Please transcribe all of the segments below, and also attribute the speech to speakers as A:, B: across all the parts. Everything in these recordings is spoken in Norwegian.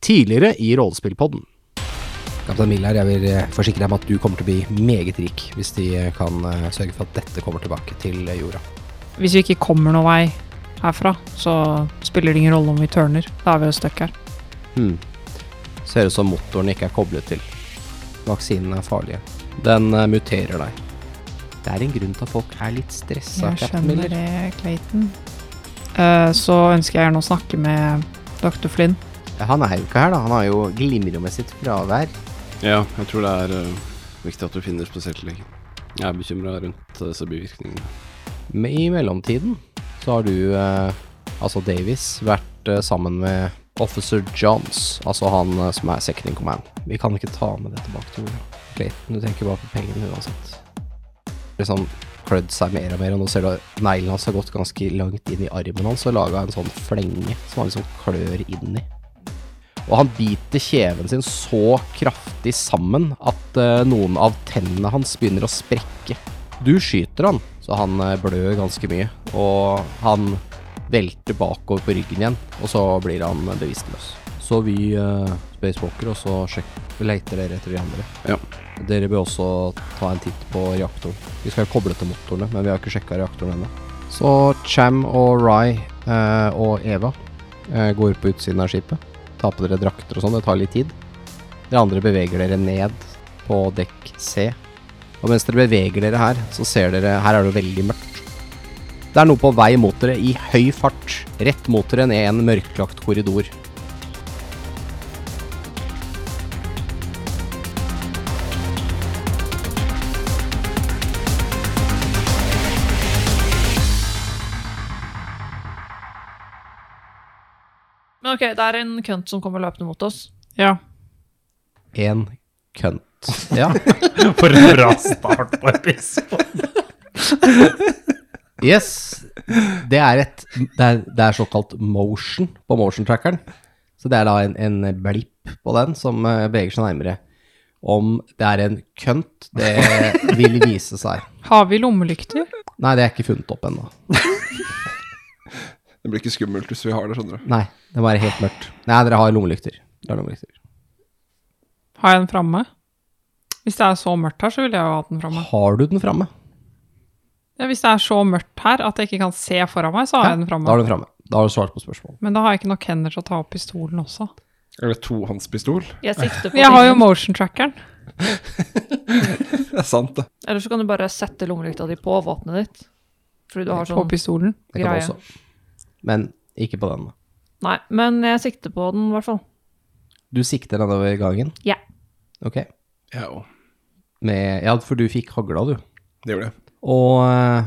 A: tidligere i Rollespillpodden.
B: Kaptein Miller, jeg vil eh, forsikre deg om at du kommer til å bli meget rik hvis de eh, kan eh, sørge for at dette kommer tilbake til eh, jorda.
C: Hvis vi ikke kommer noen vei herfra, så spiller det ingen rolle om vi tørner. Da er vi jo stuck her.
B: Hmm. Ser ut som motoren ikke er koblet til. Vaksinen er farlig. Den eh, muterer deg. Det er en grunn til at folk er litt stressa. Captain Miller.
C: det, Clayton. Eh, så ønsker jeg gjerne å snakke med dr. Flynn.
B: Ja, Han er jo ikke her, da. Han har jo glimrer med sitt fravær.
D: Ja, jeg tror det er eh, viktig at du finner spesiallegen. Jeg er bekymra rundt eh, disse bivirkningene.
B: Men i mellomtiden så har du, eh, altså Davis, vært eh, sammen med Officer Johns, altså han eh, som er second in command. Vi kan ikke ta med det tilbake til Ola. Clayton, du tenker bare på pengene uansett. Liksom klødd seg mer og mer, og nå ser du at neglen hans har gått ganske langt inn i armen hans og laga en sånn flenge som han liksom klør inn i. Og han biter kjeven sin så kraftig sammen at eh, noen av tennene hans begynner å sprekke. Du skyter han, så han eh, blør ganske mye, og han velter bakover på ryggen igjen, og så blir han eh, bevisstløs. Så vi uh, spacewalker, og så sjekk- leter dere etter de andre.
D: Ja.
B: Dere bør også ta en titt på reaktoren. Vi skal jo koble til motorene, men vi har ikke sjekka reaktoren ennå. Så Cham og Rai eh, og Eva eh, går på utsiden av skipet. Ta på dere drakter og sånn, det tar litt tid. Dere andre beveger dere ned på dekk C. Og mens dere beveger dere her, så ser dere Her er det jo veldig mørkt. Det er noe på vei mot dere i høy fart. Rett mot dere ned en mørklagt korridor.
C: Men ok, det er en kønt som kommer løpende mot oss. Ja.
B: En kønt. Ja.
E: For en bra start på episoden.
B: Yes. Det er et Det er, det er såkalt motion på motion trackeren. Så det er da en, en blipp på den som eh, beveger seg nærmere. Om det er en kønt, det vil vise seg.
C: Har vi lommelykter?
B: Nei, det er ikke funnet opp ennå.
D: Det blir ikke skummelt hvis vi har det, skjønner du.
B: Nei, det må være helt mørkt. Nei, dere har lommelykter. Dere har lommelykter.
C: Har jeg den framme? Hvis det er så mørkt her, så ville jeg jo hatt den framme.
B: Har du den framme?
C: Ja, hvis det er så mørkt her at jeg ikke kan se foran meg, så har jeg den
B: Da har
C: framme.
B: du den framme. Da har du svart på spørsmål.
C: Men da har jeg ikke nok hender til å ta opp pistolen også.
D: Eller tohåndspistol.
F: Jeg sikter på
C: Jeg har jo
F: tingen.
C: motion trackeren.
D: Det er sant, det.
F: Eller så kan du bare sette lommelykta di på våpenet ditt. Fordi du har
C: På
F: sånn
C: pistolen.
B: Det kan du
F: greie.
B: også. Men ikke på den. da.
F: Nei, men jeg sikter på den, i hvert fall.
B: Du sikter nedover gangen?
F: Ja.
B: Ok.
D: Jeg òg.
B: Med, ja, for du fikk hagla, du.
D: Det gjorde jeg.
B: Og eh,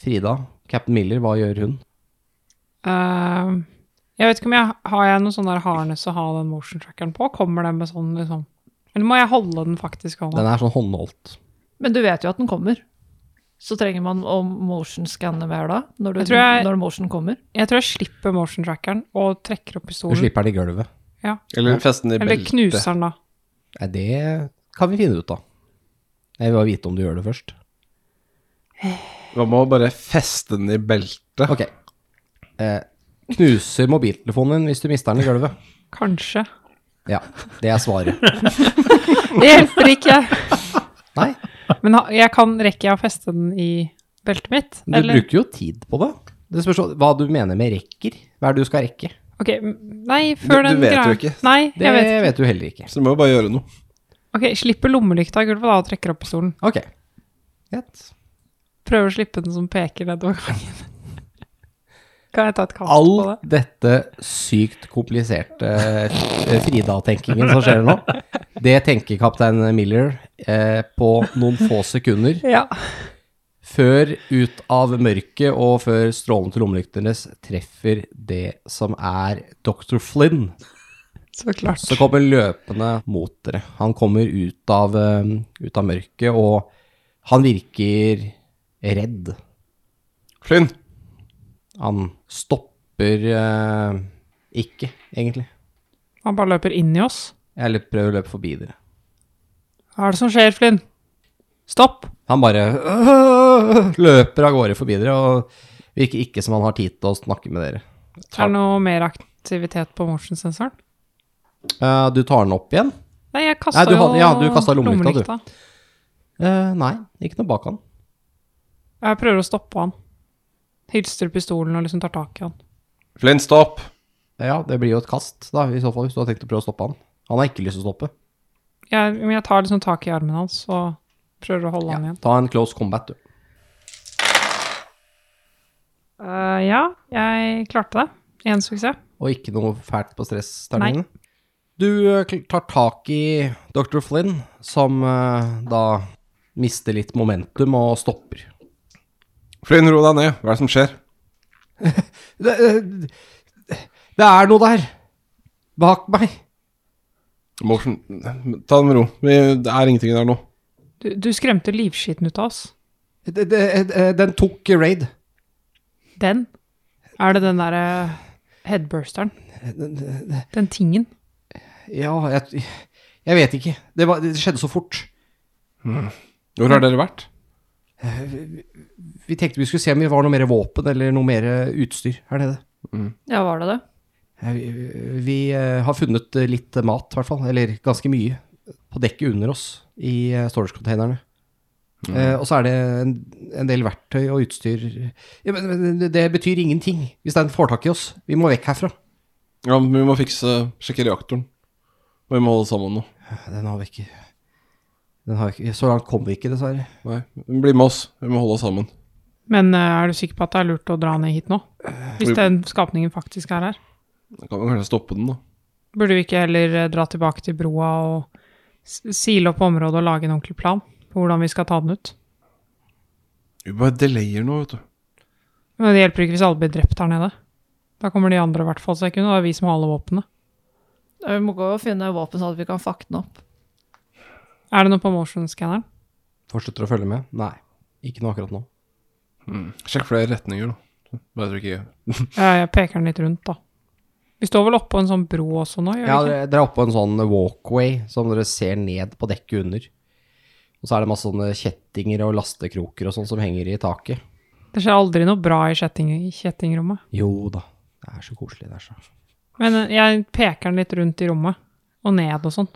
B: Frida, Captain Miller, hva gjør hun?
C: Ehm, jeg vet ikke om jeg har jeg noen sånn der harness å ha den motion trackeren på. Kommer den med sånn, liksom? Eller må jeg holde den faktisk? Holde?
B: Den er sånn håndholdt.
F: Men du vet jo at den kommer. Så trenger man å motion-skanne mer da, når,
C: Jeg
F: du,
C: tror jeg-
F: når motion kommer.
C: Jeg tror jeg slipper motion trackeren og trekker opp
B: Du
C: pistolen.
B: slipper den i gulvet.
D: Eller festen i
C: Eller
D: beltet.
C: knuser den, da.
B: Nei, det kan vi finne ut av. Jeg vil bare vite om du gjør det først.
D: Man må bare feste den i beltet.
B: Ok. Eh, knuser mobiltelefonen din hvis du mister den i gulvet?
C: Kanskje.
B: Ja, det er svaret.
C: Det hjelper ikke!
B: Nei,
C: Men ha- jeg kan, rekker jeg å feste den i beltet mitt?
B: du bruker jo tid på det. Det spørs jo hva du mener med rekker. Hva er det du skal rekke?
C: Ok, m- Nei, før
D: Du- du
C: den
D: vet jo
C: greia-
D: ikke.
C: Nei,
B: Det
C: jeg vet ikke.
B: vet du heller ikke.
D: Så du må jo bare gjøre noe.
C: Ok, Slipper lommelykta i gulvet da og trekker opp pistolen.
B: Ok. Greit.
C: Prøver å slippe den som peker nedover gangen. Kan jeg ta et kast på det?
B: All dette sykt kompliserte eh, Frida-tenkingen som skjer nå, det tenker kaptein Miller eh, på noen få sekunder
C: Ja.
B: før ut av mørket og før strålen til lommelyktenes treffer det som er Dr. Flynn,
C: Så klart.
B: som kommer løpende mot dere. Han kommer ut av, eh, ut av mørket, og han virker redd.
D: Flynn!
B: Han stopper eh, ikke, egentlig.
C: Han bare løper inn i oss.
B: Jeg løp- prøver å løpe forbi dere.
C: Hva er det som skjer, Flynn? Stopp!
B: Han bare øh, løper av gårde forbi dere, og virker ikke som han har tid til å snakke med dere.
C: Er det noe mer aktivitet på motion-sensoren?
B: Eh, du tar den opp igjen?
C: Nei, jeg kasta
B: Nei, du
C: jo
B: hadde- ja, du kastet lommelykta, du. Eh, nei, ikke noe bak han.
C: Jeg prøver å stoppe han. Hilser pistolen og liksom tar tak i han.
G: Flint, stopp!
B: Ja, det blir jo et kast, da, i så fall, hvis du har tenkt å prøve å stoppe han. Han har ikke lyst til å stoppe.
C: Jeg, men jeg tar liksom tak i armen hans og prøver å holde han igjen.
B: Ta en close combat, du.
C: Eh, ja, jeg klarte det. Én suksess.
B: Og ikke noe fælt på stressterningene. Du eh, kl- tar tak i Dr. Flynn, som eh, da mister litt momentum og stopper.
G: Flynn, ro deg ned. Hva er det som skjer?
B: Det, det, det er noe der! Bak meg!
G: Morsen, ta det med ro. Vi, det er ingenting der nå.
C: Du, du skremte livskiten ut av oss.
B: Det, det, eh, den tok raid.
C: Den? Er det den derre headbursteren? Den tingen?
B: Ja, jeg, jeg vet ikke. Det, var, det skjedde så fort.
G: Hvor har dere vært?
B: Vi tenkte vi skulle se om vi var noe mer våpen eller noe mer eh, utstyr her nede.
F: Ja, var det det?
B: Eh, Vi, vi eh, har funnet eh, litt eh, mat, i hvert fall. Eller ganske mye. På dekket under oss i eh, storage-containerne. Eh, og så er det en, en del verktøy og utstyr ja, men, men det- Det betyr ingenting hvis den får tak i oss. Vi må vekk herfra.
G: Ja, men vi må fikse Sjekke reaktoren. Vi må holde sammen nå.
B: Den har vi ikke den har vi ikke, Så langt kom vi ikke, dessverre.
G: Nei, bli med oss. Vi må holde oss sammen.
C: Men eh, er du sikker på at det er lurt å dra ned hit nå? Hvis den skapningen faktisk er her?
G: Da kan vi kanskje stoppe den, da.
C: Burde vi ikke heller eh, dra tilbake til broa og s- sile opp området og lage en ordentlig plan på hvordan vi skal ta den ut?
G: Vi bare delayer nå, vet du.
C: Men det hjelper ikke hvis alle blir drept her nede. Da kommer de andre i hvert fall seg ikke unna. Det er vi som har alle våpnene.
F: Ja, Vi må gå og finne våpen sånn at vi kan fakte den opp.
C: Er det noe på motion-skanneren?
B: Fortsetter å følge med? Nei. Ikke noe akkurat nå.
G: Sjekk flere retninger, da. Bare tror ikke
C: Eh, Jeg peker den litt rundt, da. Vi står vel oppå en sånn bro også nå, gjør
B: Ja,
C: vi ikke?
B: dere dere er oppe på en sånn walkway som dere ser ned på dekket under. Og så er det masse sånne kjettinger og lastekroker og sånn som henger i taket.
C: Det skjer aldri noe bra i kjetting, i kjettingrommet.
B: Jo da, det er så koselig det er så.
C: Men eh, jeg peker den litt rundt i rommet, og ned og sånn.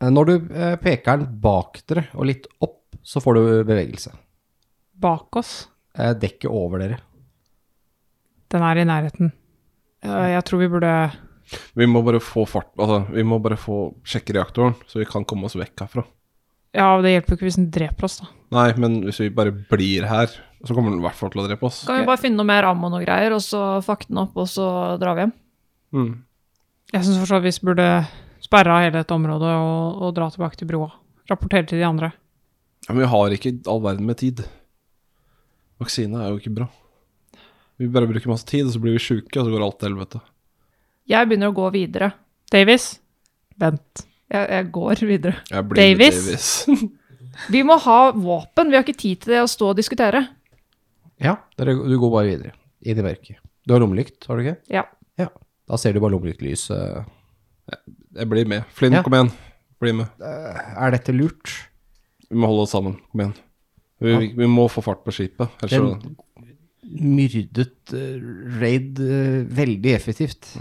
B: Eh, Når du eh, peker den bak dere og litt opp, så får du bevegelse.
C: Bak oss.
B: Eh, Dekket over dere.
C: Den er i nærheten. Eh, Jeg tror vi burde
G: Vi må bare få fart Altså, vi må bare få sjekke reaktoren, så vi kan komme oss vekk herfra.
C: Ja, det hjelper jo ikke hvis den dreper oss, da.
G: Nei, men hvis vi bare blir her, så kommer den i hvert fall til å drepe oss.
F: Så kan vi bare finne noe mer ammo og noe greier, og så fakte den opp, og så drar vi hjem.
G: Mm.
C: Jeg syns for så vidt vi burde sperre av hele dette området og, og dra tilbake til broa. Rapportere til de andre.
G: Ja, men vi har ikke all verden med tid. Vaksine er jo ikke bra. Vi bare bruker masse tid, og så blir vi sjuke, og så går alt til helvete.
F: Jeg begynner å gå videre.
C: Davis, vent.
F: Jeg, jeg går videre.
G: Jeg blir
C: Davis?
G: Davis.
F: Vi må ha våpen, vi har ikke tid til det å stå og diskutere.
B: Ja, dere, du går bare videre. Inn i mørket. Du har lommelykt, har du ikke?
F: Ja.
B: Ja. Da ser du bare lommelyktlyset.
G: Jeg blir med. Flynn,
B: Ja.
G: kom igjen. Bli med.
B: Er dette lurt?
G: Vi må holde oss sammen. Kom igjen. Vi, vi, vi må få fart på skipet. Ellers så
B: Den myrdet eh, raid eh, veldig effektivt.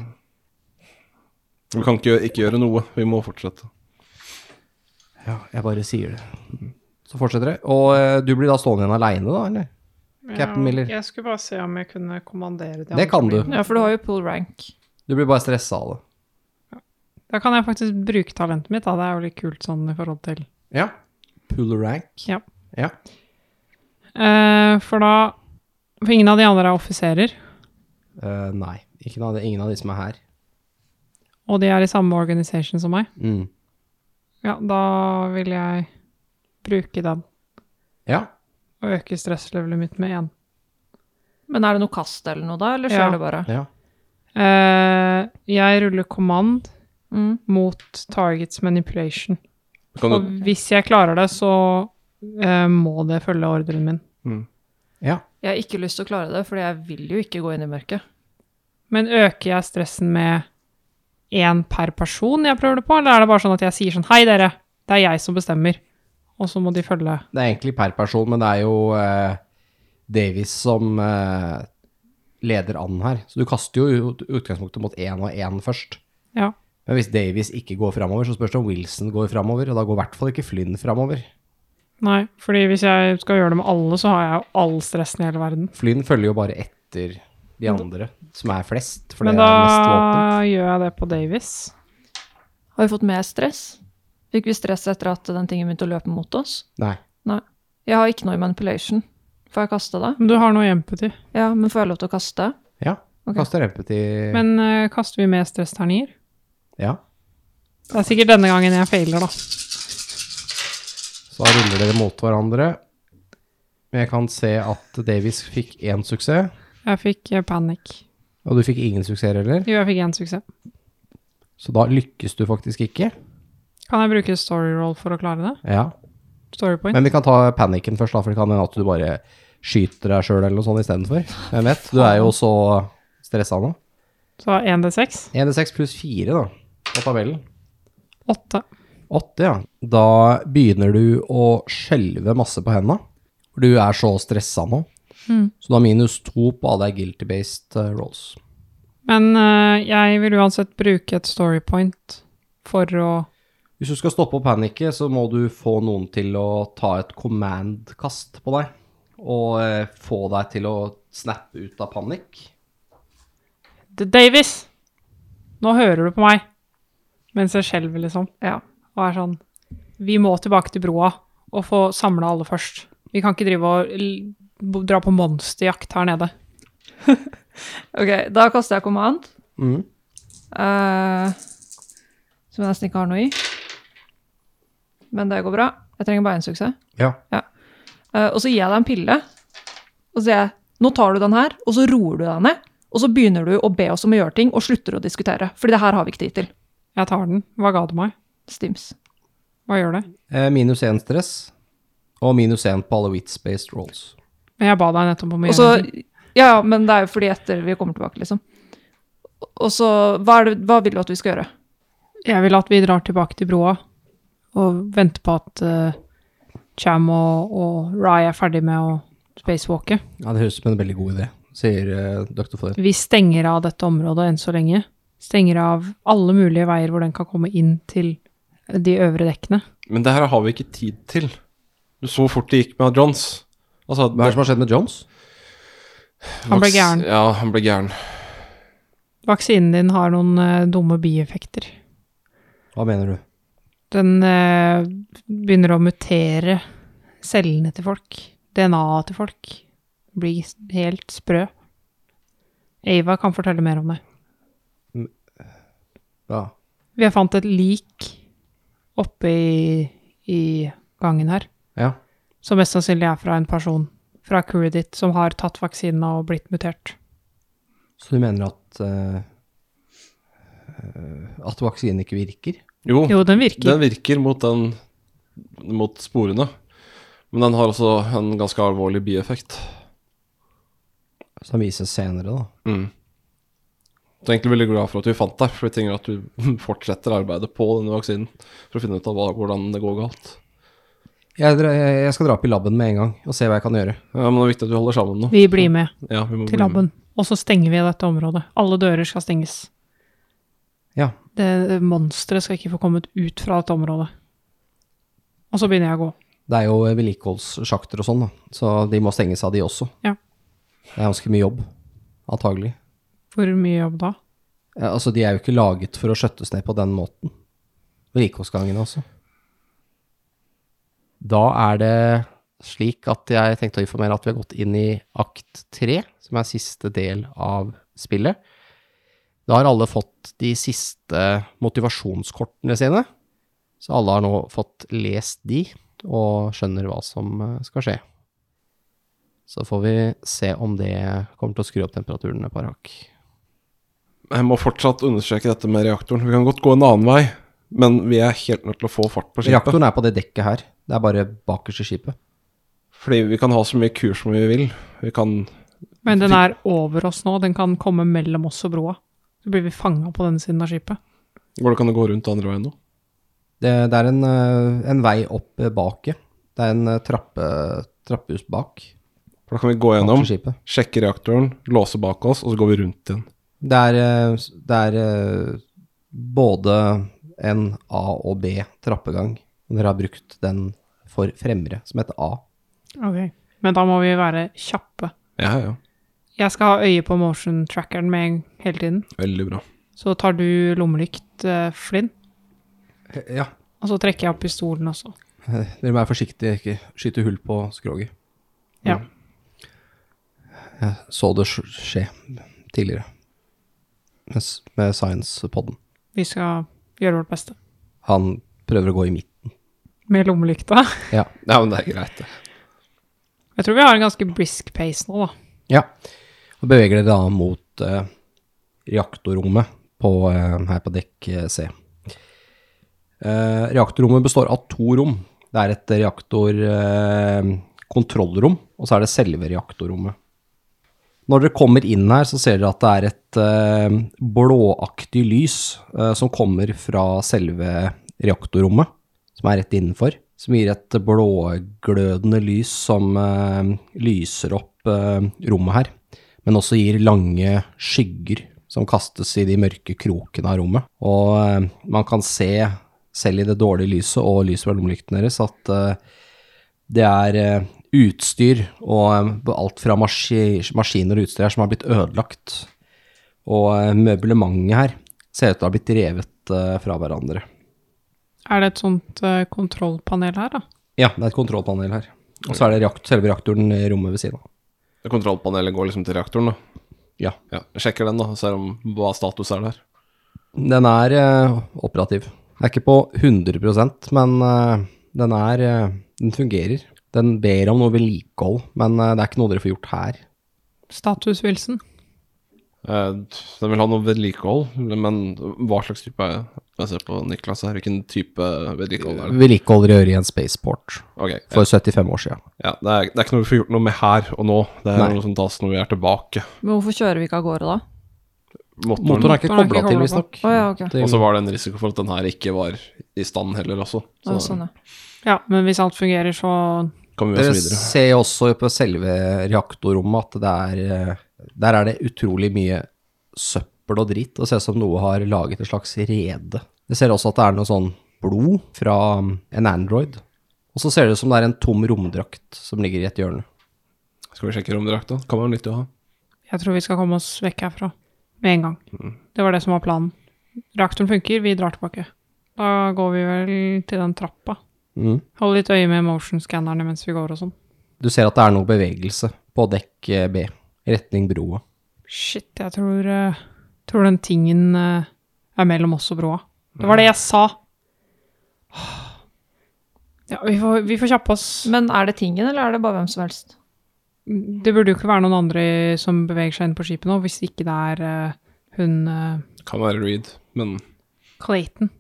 G: Vi kan ikke, gjø- ikke gjøre noe. Vi må fortsette.
B: Ja, jeg bare sier det. Så fortsetter det. Og eh, du blir da stående igjen aleine, da, eller? Captain Miller.
C: Jeg skulle bare se om jeg kunne kommandere de
B: Det kan du.
F: ja, for du har jo pool rank.
B: Du blir bare stressa av det.
C: Da kan jeg faktisk bruke talentet mitt, da. Det er jo litt kult sånn i forhold til
B: Ja. Pull rank.
C: Ja.
B: Ja.
C: Eh, For da For ingen av de andre er offiserer,
B: Eh, nei, ikke noe av det, ingen av de som er her.
C: og de er i samme organisasjon som meg.
B: Mm.
C: Ja, da vil jeg bruke den
B: Ja.
C: og øke stresslevelet mitt med én.
F: Men er det noe kast eller noe da, eller
C: Ja.
F: skjer det bare?
B: ja.
C: Eh, jeg ruller command
F: Mm.
C: mot targets manipulation.
G: Kan
C: Og
G: du,
C: hvis jeg klarer det, så eh, må det følge ordren min.
B: ja.
F: Jeg har ikke lyst til å klare det, for jeg vil jo ikke gå inn i mørket.
C: Men øker jeg stressen med én per person jeg prøver det på, eller er det bare sånn at jeg sier sånn Hei, dere, det er jeg som bestemmer, og så må de følge
B: Det er egentlig per person, men det er jo eh, Davis som eh, leder an her. Så du kaster jo ut- utgangspunktet mot én og én først.
C: Ja.
B: Men hvis Davies ikke går framover, så spørs det om Wilson går framover, og da går i hvert fall ikke Flynn framover.
C: Nei, fordi hvis jeg skal gjøre det med alle, så har jeg jo all stressen i hele verden.
B: Flynn følger jo bare etter de andre, som er flest, for det
C: Men
B: er mest våpen.
C: da gjør jeg det på Davies.
F: Har vi fått mer stress? Fikk vi stress etter at den tingen begynte å løpe mot oss?
B: Nei.
F: Nei. Jeg har ikke noe i manipulation. Får jeg kaste det?
C: Men du har noe empathy.
F: Ja, men får jeg lov til å kaste?
B: Ja.
F: Ok.
B: Kaster empathy
C: Men eh, kaster vi med stressterninger?
B: Ja.
C: Det er sikkert denne gangen jeg failer, da.
B: Så da ruller dere mot hverandre. Men jeg kan se at Davies fikk én suksess,
C: Jeg fikk eh, panikk.
B: og du fikk ingen suksess heller.
C: Jo, jeg fikk én suksess.
B: Så da lykkes du faktisk ikke.
C: Kan jeg bruke story roll for å klare det?
B: Ja.
C: Story point?
B: Men vi kan ta panikken først, da, for det kan hende at du bare skyter deg sjøl eller noe sånt istedenfor. Hvem vet? Du er jo så stressa nå.
C: Så 1D6.
B: 1D6 pluss 4 da, på tabellen.
C: 8.
B: 8, ja. Da begynner du å skjelve masse på hendene. For Du er så stressa nå. Så du har minus 2 på alle guilty-based eh, rolls.
C: Men eh, jeg vil uansett bruke et story point for å
B: Hvis du skal stoppe å panikke, så må du få noen til å ta et command-kast på deg. Og eh, få deg til å snappe ut av panikk.
C: D- Davis! Nå hører du på meg. Mens jeg skjelver, liksom.
F: Ja.
C: Og er sånn Vi må tilbake til broa og få samla alle først. Vi kan ikke drive og l- bo- dra på monsterjakt her nede.
F: Ok, da kaster jeg command.
B: Mhm.
F: Eh, som jeg nesten ikke har noe i. Men det går bra. Jeg trenger bare en suksess.
B: Ja.
F: Eh, og så gir jeg deg en pille. Og så sier jeg nå tar du den her, og så roer du deg ned. Og så begynner du å be oss om å gjøre ting, og slutter å diskutere. Fordi det her har vi ikke tid til.
C: Jeg tar den. Hva ga du meg?
F: Stims.
C: Hva gjør det?
B: Eh, minus én stress, og minus én på alle wits-based rolls.
C: Men jeg ba deg nettopp om å
F: Og
C: gjøre
F: så,
C: det.
F: ja, ja, men det er jo fordi etter vi kommer tilbake, liksom. Og så, hva, er det, hva vil du at vi skal gjøre?
C: Jeg vil at vi drar tilbake til broa og venter på at eh, Cham og, og Rai er ferdig med å spacewalke.
B: Ja, Det høres ut som en veldig god idé, sier eh, Dr. Foden.
C: Vi stenger av dette området enn så lenge. Stenger av alle mulige veier hvor den kan komme inn til de øvre dekkene.
G: Men det her har vi ikke tid til. Du så hvor fort det gikk med Johns. Altså,
B: Hva er det som har skjedd med Jones?
C: Han ble
G: vaks-
C: gæren.
G: Ja, han ble gæren.
C: Vaksinen din har noen eh, dumme bieffekter.
B: Hva mener du?
C: Den eh, begynner å mutere cellene til folk. DNA-et til folk. Blir s- helt sprø. Ava kan fortelle mer om det.
B: Ja.
C: Vi fant et lik oppe i, i gangen her.
B: ja.
C: Som mest sannsynlig er fra en person fra crewet ditt som har tatt vaksinen og blitt mutert.
B: Så du mener at eh, eh, At vaksinen ikke virker?
G: Jo,
C: Jo, den virker.
G: den virker mot, den, mot sporene. Men den har også en ganske alvorlig bieffekt.
B: Som vises senere, da.
G: Mm. Så jeg er egentlig veldig glad for at vi fant deg, for jeg trenger at du fortsetter arbeidet på denne vaksinen for å finne ut av hva, hvordan det går galt.
B: Jeg, dra- jeg jeg skal dra opp i laben med en gang og se hva jeg kan gjøre.
G: Ja, Men det er viktig at vi holder sammen nå.
C: Vi blir med
G: Ja, vi må
C: til
G: bli med.
C: laben. Og så stenger vi dette området. Alle dører skal stenges.
B: Ja.
C: Det monsteret skal ikke få kommet ut fra dette området. Og så begynner jeg å gå.
B: Det er jo vedlikeholdssjakter og sånn, da. Så de må stenges av, de også.
C: Ja.
B: Det er ganske mye jobb, antagelig.
C: Hvor mye jobb da?
B: Ja, altså, de er jo ikke laget for å skjøttes ned på den måten. Vedlikeholdsgangene også. Da er det slik at jeg tenkte å informere at vi har gått inn i akt tre, som er siste del av spillet. Da har alle fått de siste motivasjonskortene sine, så alle har nå fått lest de og skjønner hva som eh, skal skje. Så får vi se om det kommer til å skru opp temperaturen et par hakk.
G: Jeg må fortsatt understreke dette med reaktoren. Vi kan godt gå en annen vei, men vi er helt nødt til å få fart på skipet.
B: Reaktoren er på det dekket her. Det er bare bakerst i skipet.
G: Fordi vi kan ha så mye kurs som vi vil. Vi kan
C: Men den er over oss nå. Den kan komme mellom oss og broa. Så blir vi fanga på denne siden av skipet.
G: Går det kan det gå rundt andre veien nå?
B: Det, det er en, eh, en vei opp eh, bak, ja. Det er en eh, trappe, trappehus bak.
G: For da kan vi gå
B: bak
G: gjennom,
B: i skipet.
G: sjekke reaktoren, låse bak oss, og så går vi rundt igjen.
B: Det er, eh, s- det er eh, både en A- og B-trappegang. Dere har brukt den for fremre, som heter A.
C: Ok. Men da må vi være kjappe.
G: Ja, ja.
C: Jeg skal ha øye på motion trackeren med en- hele tiden.
G: Veldig bra.
C: Så tar du lommelykt, eh, Flynn,
B: Ja.
C: og så trekker jeg opp pistolen også.
B: Dere må være forsiktige, ikke skyte hull på skroget.
C: Ja.
B: Jeg så det sk- skje tidligere. Med, s- med science-podden.
C: Vi skal gjøre vårt beste.
B: Han prøver å gå i midten.
C: Med lommelykta.
B: Ja. ja, men det er greit, det.
C: Jeg tror vi har en ganske brisk pace nå, da.
B: Ja. Og beveger dere da mot eh, reaktorrommet på, eh, her på dekk eh, C. Eh, reaktorrommet består av to rom. Det er et reaktorkontrollrom, og så er det selve reaktorrommet. Når dere kommer inn her, så ser dere at det er et eh, blåaktig lys eh, som kommer fra selve reaktorrommet, som er rett innenfor. Som gir et blåglødende lys som eh, lyser opp eh, rommet her. Men også gir lange skygger som kastes i de mørke krokene av rommet. Og eh, man kan se, selv i det dårlige lyset og lyset fra lommelyktene deres, at eh, det er eh, utstyr og eh, alt fra maski maskiner og utstyr her som har blitt ødelagt. Og eh, møblementet her ser ut til å ha blitt revet eh, fra hverandre.
C: Er det et sånt eh, kontrollpanel her, da?
B: Ja, det er et kontrollpanel her. Og så er det reakt selve reaktoren i rommet ved siden av.
D: Kontrollpanelet går liksom til reaktoren, da.
B: Ja.
D: Ja, jeg Sjekker den, da, og ser om hva status er der.
B: Den er eh, operativ. Den er ikke på 100 men eh, den er eh, Den fungerer. Den ber om noe vedlikehold, men eh, det er ikke noe dere får gjort her.
C: Status Wilson.
D: Eh, Den vil ha noe vedlikehold, men hva slags type er det? Jeg ser på Niklas her, hvilken type vedlikehold er det?
B: Vedlikehold dere gjør i en spaceport
D: Ok, ja,
B: for 75 år siden.
D: ja, det, er, det er ikke noe vi får gjort noe med her og nå, det er
B: Nei.
D: noe som tas når vi er tilbake.
F: Men hvorfor kjører vi ikke av gårde da?
B: Motoren
D: Motoren,
B: er ikke
C: Motoren
B: kobla
C: er ikke
B: til,
C: koblet på.
B: visstnok.
F: Å ja, ok.
B: til-
D: og så var det en risiko for at den her ikke var i stand heller også. Så
F: Å, sånn, ja.
C: Ja, men hvis alt fungerer, så
D: kommer vi
B: Dere
D: oss videre.
B: ser jo også på selve reaktorrommet at det er eh, Der er det utrolig mye søppel og dritt. Det ser ut som noe har laget et slags rede. Det ser også at det er noe sånn blod fra um, en Android. Og så ser det ut som det er en tom romdrakt som ligger i et hjørne.
D: Skal vi sjekke romdrakta? Kan være nyttig å ha.
C: jeg tror vi skal komme oss vekk herfra med en gang. Det var det som var planen. Reaktoren funker, vi drar tilbake. Da går vi vel til den trappa.
B: Mm.
C: Hold litt øye med motion-skannerne mens vi går og sånn.
B: Du ser at det er noe bevegelse på dekk eh, B, retning broa.
C: Shit, jeg tror, eh, tror den tingen eh, er mellom oss og broa. Det var det jeg sa. Ja, vi får, vi får kjappe oss.
F: Men er det tingen, eller er det bare hvem som helst?
C: Det burde jo ikke være noen andre som beveger seg inn på skipet nå, hvis ikke det er eh, hun eh,
D: Kan være Reed, men
C: Clayton.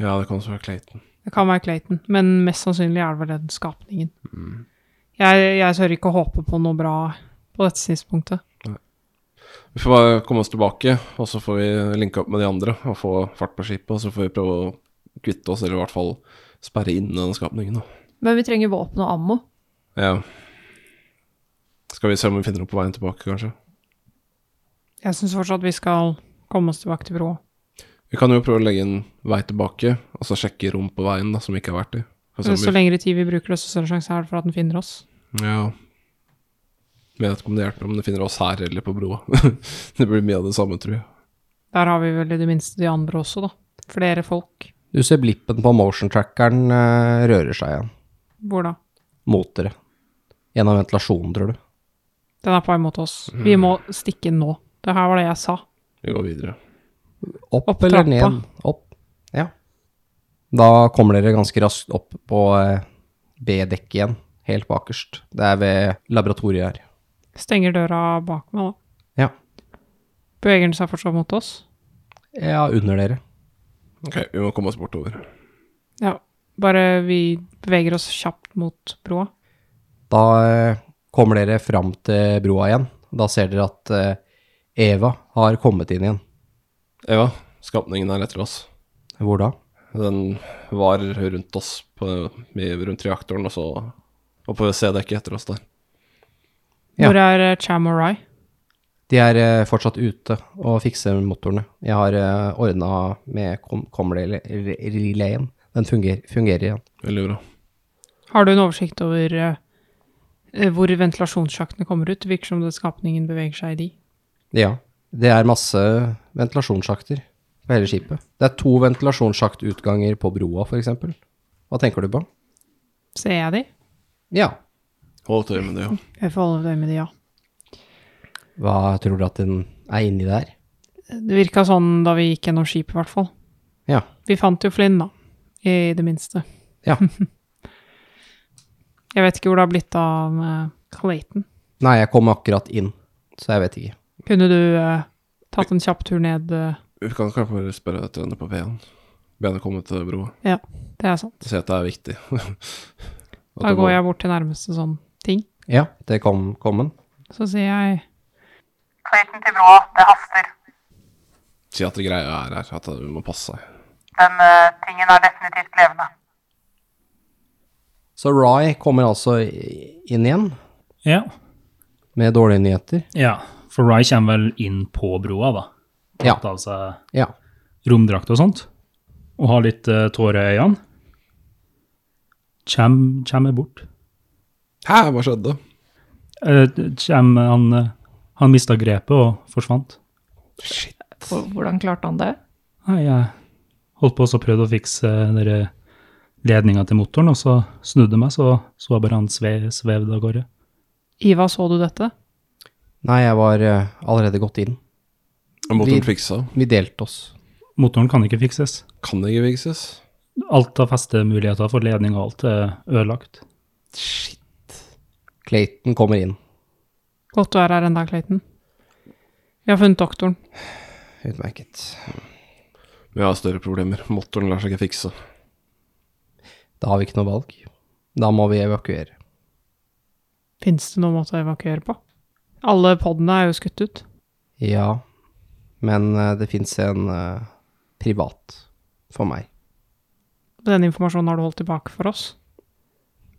D: Ja, det kan også være Clayton.
C: Det kan være Clayton, men mest sannsynlig er det vel den skapningen. Jeg, jeg tør ikke å håpe på noe bra på dette tidspunktet.
D: Vi får bare komme oss tilbake, og så får vi linke opp med de andre og få fart på skipet. Og så får vi prøve å kvitte oss, eller i hvert fall sperre inne den skapningen. Da.
F: Men vi trenger våpen og ammo.
D: Ja. Skal vi se om vi finner noe på veien tilbake, kanskje?
C: Jeg syns fortsatt vi skal komme oss tilbake til broa.
D: Vi kan jo prøve å legge en vei tilbake, og så sjekke rom på veien da, som vi ikke har vært i. For å se om
C: Så
D: vi...
C: lengre tid vi bruker, desto større sjanse er det for at den finner oss.
D: Ja. Jeg vet ikke om det hjelper om det finner oss her eller på broa. det blir mye av det samme, tror jeg.
C: Der har vi vel i det minste de andre også, da. Flere folk.
B: Du ser blippen på motion trackeren eh, rører seg igjen
C: Hvor da?
B: mot dere. Gjennom ventilasjonen, tror du.
C: Den er på vei mot oss. Vi må stikke nå. Det her var det jeg sa.
D: Vi går videre.
B: Opp,
C: Opp
B: eller
C: trappa.
B: ned? Opp. Ja. Da kommer dere ganske raskt opp på eh, B-dekket igjen, helt bakerst. Det er ved laboratoriet her.
C: Stenger døra bak meg, da.
B: Ja.
C: Beveger den seg fortsatt mot oss?
B: Ja, under dere.
D: Ok, vi må komme oss bortover.
C: Ja. Bare vi beveger oss kjapt mot broa.
B: Da eh, kommer dere fram til broa igjen. Da ser dere at eh, Eva har kommet inn igjen.
D: Eva, skapningen er etter oss.
B: Hvor da?
D: Den var rundt oss, på, i- rundt reaktoren, og så og på C-dekket etter oss der.
B: Ja.
C: Hvor er eh, Cham og Rai?
B: De er eh, fortsatt ute og fikser motorene. Jeg har eh, ordna med kom- Comley-relayen. Den funger, fungerer igjen.
G: Veldig bra.
C: Har du en oversikt over eh, hvor ventilasjonssjaktene kommer ut? Det virker som det skapningen beveger seg i de.
B: Ja. Det er masse ventilasjonssjakter på hele skipet. Det er to ventilasjonssjaktutganger på broa, f.eks. Hva tenker du på?
C: Ser jeg de?
B: Ja.
G: Hold et øye med det, ja.
C: Jeg får holde øye med de, ja.
B: Hva tror du at den er inni der?
C: Det virka sånn da vi gikk gjennom skipet, i hvert fall.
B: Ja.
C: Vi fant jo Flynn, da. I det minste.
B: Ja.
C: jeg vet ikke hvor det har blitt av eh, Clayton.
B: Nei, jeg kom akkurat inn, så jeg vet ikke.
C: Kunne du eh, tatt en kjapp tur ned? eh,
G: Vi kan kanskje bare spørre etter henne på P1. Be henne komme til broa.
C: det er sant.
G: Si at det er viktig. At
C: Da
G: det
C: går
G: må-
C: jeg bort til nærmeste sånn ting.
B: Ja, det kom, kom en.
C: Så sier jeg
H: Clayton til broa, det haster.
G: Si at det greia er her, at vi må passe seg.
H: Den eh, tingen er definitivt levende.
B: Så Rye kommer altså i- inn igjen,
E: Ja.
B: med dårlige nyheter.
E: ja. For Rye kommer vel inn på broa, da.
B: Ja.
E: Tatt av seg
B: Ja.
E: romdrakt og sånt. Og har litt eh, tårer i øynene. Kjem, kjem jeg bort.
G: Hæ, hva skjedde?
E: Eh, Kjem han eh, Han mista grepet og forsvant.
F: Hvor- Hvordan klarte han det?
E: Nei, jeg holdt på og så prøvde å fikse eh, den ledninga til motoren, og så snudde jeg meg, så så jeg bare han sve, svevde av gårde.
C: Iva, så du dette?
B: Nei, jeg var eh, allerede gått inn.
G: Motoren
B: Vi-
G: fiksa.
B: Vi delte oss.
E: Motoren kan ikke fikses.
G: Kan ikke fikses.
E: Alt av festemuligheter for ledning og alt er ødelagt.
B: Clayton kommer inn.
C: Godt du er her ennå, Clayton. Vi har funnet doktoren.
B: Utmerket.
G: Vi har større problemer. Motoren lar seg ikke fikse.
B: Da har vi ikke noe valg. Da må vi evakuere.
C: Fins det noen måte å evakuere på? Alle podene er jo skutt ut.
B: Ja, men eh, det fins en eh, privat for meg.
C: Den informasjonen har du holdt tilbake for oss.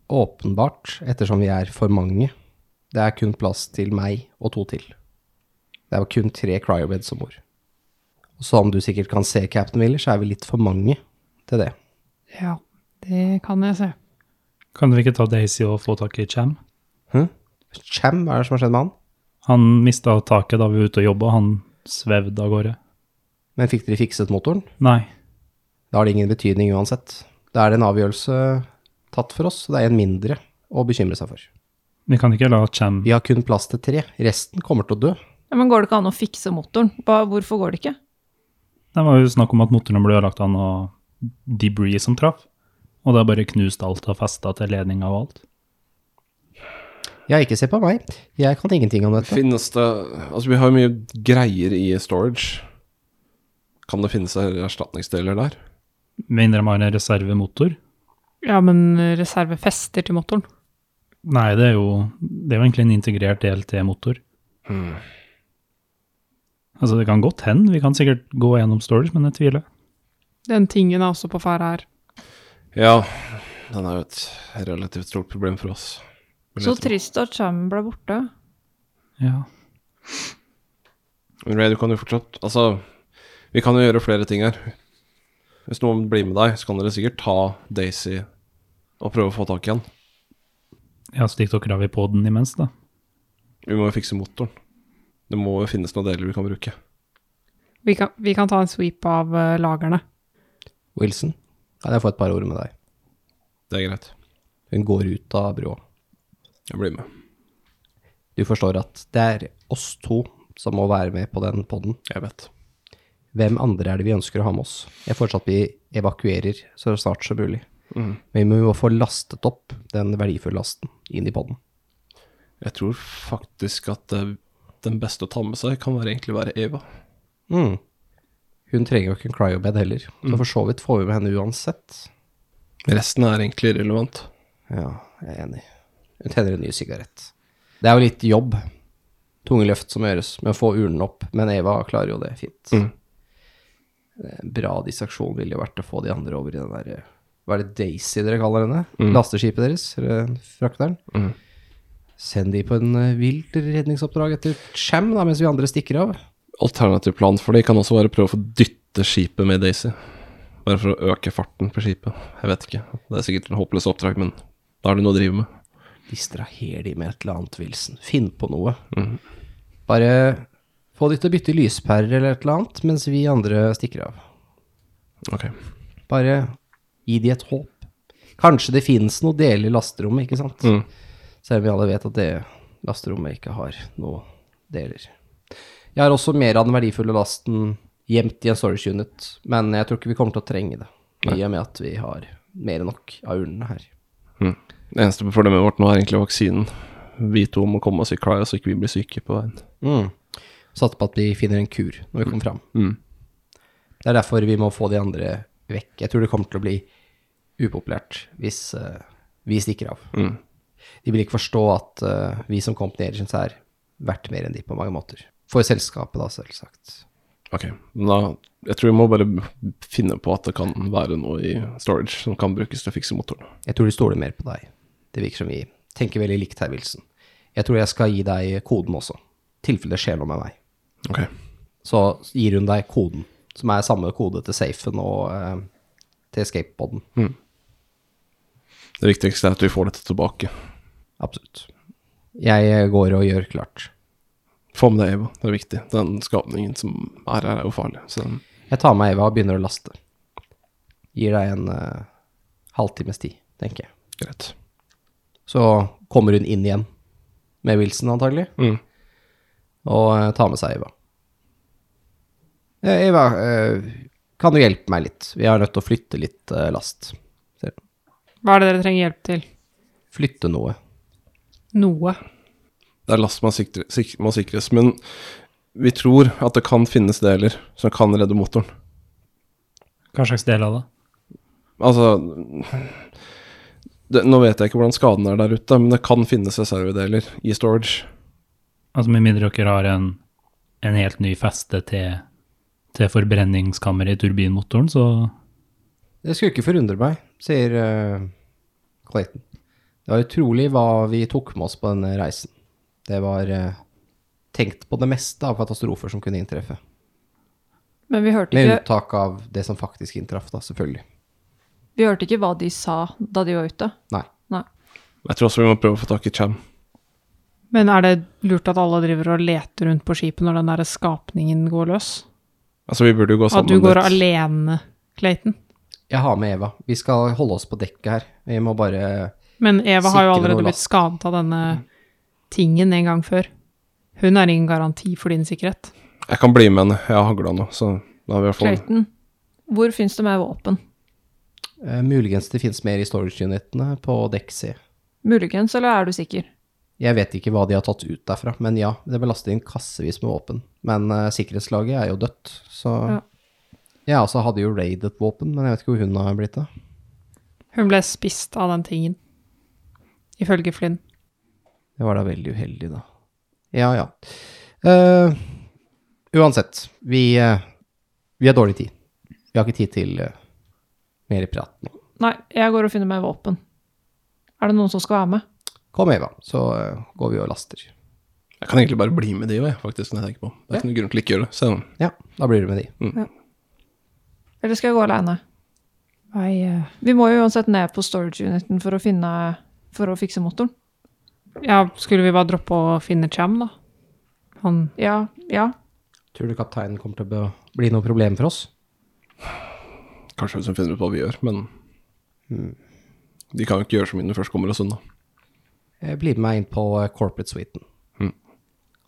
B: Åpenbart, ettersom vi er for mange. Det er kun plass til meg og to til. Det er jo kun tre cryobeds som bor. Og som du sikkert kan se, Captain Willer, så er vi litt for mange til det.
C: Ja, det kan jeg se.
E: Kan dere ikke ta Daisy og få tak i Cham?
B: Hm? Cham, hva er det som har skjedd med han?
E: Han mista taket da vi var ute og jobba, og han svevde av gårde.
B: Men fikk dere fikset motoren?
E: Nei,
B: Da har det ingen betydning uansett. Da er det en avgjørelse tatt for oss, så det er en mindre å bekymre seg for.
E: vi kan ikke la Cham
B: Vi har kun plass til tre. Resten kommer til å dø.
F: Ja, men går det ikke an å fikse motoren? Hva, hvorfor går det ikke?
E: Det var jo snakk om at motoren ble ødelagt av noe debris som traff. Og det har bare knust alt av fester til ledninga og alt.
B: Ja, ikke se på meg. Jeg kan ingenting om dette.
G: Finnes det Altså, vi har jo mye greier i storage. Kan det finnes erstatningsdeler der?
E: Med indre man en reservemotor?
C: Ja, men reservefester til motoren.
E: Nei, det er jo, det er jo egentlig en integrert DLT-motor. Altså, det kan godt hende. Vi kan sikkert gå gjennom storage, men jeg tviler.
C: Den tingen er også på ferde her.
G: Ja, den er jo et relativt stort problem for oss. Vil
F: Så
G: jeg tro.
F: trist at Cham ble borte.
E: Ja.
G: Men Ray, du kan jo fortsatt Altså, vi kan jo gjøre flere ting her. Hvis noen blir med deg, så kan dere sikkert ta Daisy og prøve å få tak i han.
E: Ja, slik dere har vi på den imens, da.
G: Vi må jo fikse motoren. Det må jo finnes noen deler vi kan bruke.
C: Vi kan, vi kan ta en sweep av eh, lagrene.
B: Wilson, kan jeg få et par ord med deg?
G: Det er greit.
B: Hun går ut av brua.
G: Jeg blir med.
B: Du forstår at det er oss to som må være med på den podden.
G: Jeg vet.
B: Hvem andre er det vi ønsker å ha med oss? Jeg foreslår at vi evakuerer så snart som mulig. Men vi må få lastet opp den verdifulle lasten inn i podden.
G: Jeg tror faktisk at eh, den beste å ta med seg kan være egentlig være Eva.
B: Mm. Hun trenger jo ikke en cryobed heller, så for så vidt får vi med henne uansett.
G: Resten er egentlig irrelevant.
B: Ja, jeg er enig. Hun tenner en ny sigarett. Det er jo litt jobb, tunge løft som gjøres, med å få urnen opp, men Eva klarer jo det fint. Det er en Bra distraksjon ville jo vært å få de andre over i den der eh, Hva er det Daisy dere kaller henne? Lasteskipet deres? Eller frakteren? eh, Send de på en eh, vilt redningsoppdrag etter Cham, da, mens vi andre stikker av.
D: Alternativ plan for det kan også være å prøve å få dytte skipet med Daisy. Bare for å øke farten på skipet. Jeg vet ikke. Det er sikkert en håpløs oppdrag, men da er det noe å drive med.
B: Distraher de med et eller annet, Wilson. Finn på noe. Bare få de til å bytte lyspærer eller et eller annet, mens vi andre stikker av.
D: Ok.
B: Bare gi de et håp. Kanskje det finnes noe delig i lasterommet, ikke sant? Selv om vi alle vet at det lasterommet ikke har noe deler. Jeg har også mer av den verdifulle lasten gjemt i en storage unit, men jeg tror ikke vi kommer til å trenge det, i og med at vi har mer enn nok av urnene her.
D: Det eneste problemet vårt nå er egentlig vaksinen. Vi to må komme oss i Cryo så ikke vi blir syke på veien.
B: Mm. Satser på at vi finner en kur når vi kommer fram.
D: Mm.
B: Det er derfor vi må få de andre vekk. Jeg tror det kommer til å bli upopulært hvis eh, vi stikker av.
D: Mm.
B: De vil ikke forstå at eh, vi som company agents er verdt mer enn de på mange måter. For selskapet, da, selvsagt.
D: Ok, men da, jeg tror vi må bare finne på at det kan være noe i storage som kan brukes til å fikse motoren.
B: Jeg tror de stoler mer på deg. Det virker som vi tenker veldig likt her, Wilson. Jeg tror jeg skal gi deg koden også, i tilfelle det skjer noe med meg.
D: Ok,
B: så gir hun deg koden, som er samme kode til safen og eh, til escape-poden.
D: Mm. Det viktigste er at vi får dette tilbake.
B: Absolutt. Jeg eh, går og gjør klart.
D: Få med deg Eva, det er viktig. Den skapningen som er her, er jo farlig. Så den,
B: Jeg tar med Eva og begynner å laste. Gir deg en eh, halvtimes tid, tenker jeg.
D: greit.
B: Så kommer hun inn igjen, med Wilson antagelig,
D: Mm.
B: og eh, tar med seg Eva. Eh, Eva, eh, kan du hjelpe meg litt? Vi er nødt til å flytte litt eh, last. Ser du.
C: Hva er det dere trenger hjelp til?
B: Flytte noe.
C: Noe.
D: Det er last man sikter, sik, må sikres, men vi tror at det kan finnes deler som kan redde motoren.
E: Hva slags del av det?
D: Altså det, Nå vet jeg ikke hvordan skaden er der ute, men det kan finnes reservedeler i storage.
E: Altså Med mindre dere har en, en helt ny feste til, til forbrenningskammeret i turbinmotoren, så
B: Det skulle ikke forundre meg, sier eh, Clayton. Det var utrolig hva vi tok med oss på denne reisen. Det var eh, tenkt på det meste av katastrofer som kunne inntreffe.
F: Men vi hørte,
B: Med
F: ikke,
B: unntak av det som faktisk inntraff, da, selvfølgelig.
F: vi hørte ikke hva de sa da de var ute.
B: Nei.
F: Nei.
D: Jeg tror også vi må prøve å få tak i Cham.
C: Men er det lurt at alle driver og leter rundt på skipet når den der skapningen går løs?
D: Altså, vi burde jo gå
C: At
D: sammen
C: du går
D: dit.
C: alene, Clayton?
B: Jeg har med Eva. Vi skal holde oss på dekket her. Vi må bare
C: Men Eva har jo
B: Sikre
C: allerede
B: noe
C: blitt
B: last.
C: skadet av denne tingen en gang før. Hun er ingen garanti for din sikkerhet.
D: Jeg kan bli med henne. Jeg har hagla nå, så da har vi i hvert fall
F: Clayton, hvor finnes det mer våpen?
B: eh, Muligens det fins mer i storage unitene på dekk C.
F: Muligens, eller er du sikker?
B: Jeg vet ikke hva de har tatt ut derfra, men ja, det ble lastet inn kassevis med våpen. Men eh, sikkerhetslaget er jo dødt, så
F: Ja.
B: Jeg også hadde jo raidet våpen, men jeg vet ikke hvor hun har blitt av.
C: Hun ble spist av den tingen, ifølge Flynn.
B: Det var da veldig uheldig, da. Ja, ja. Eh, uansett, vi, eh, vi har dårlig tid. Vi har ikke tid til eh, mer prat nå.
F: Nei, jeg går og finner meg våpen. Er det noen som skal være med?
B: Kom, Eva, så eh, går vi og laster.
D: Jeg kan egentlig bare bli med de òg, faktisk, når jeg tenker på det. Det er ikke noen grunn til ikke å gjøre det. Så
B: Ja, da blir det med de.
F: Eller skal jeg gå alene?
C: Nei, eh,
F: Vi må jo uansett ned på storage uniten for å finne For å fikse motoren.
C: ja, skulle vi bare droppe å finne Cham, da? Han
F: Ja, ja.
B: Tror du kapteinen kommer til å be- bli noe problem for oss?
D: kanskje hvis hun finner ut hva vi gjør, men De kan jo ikke gjøre så mye når de først kommer sånn, oss unna.
B: Eh, Bli med meg inn på eh, corporate suiten.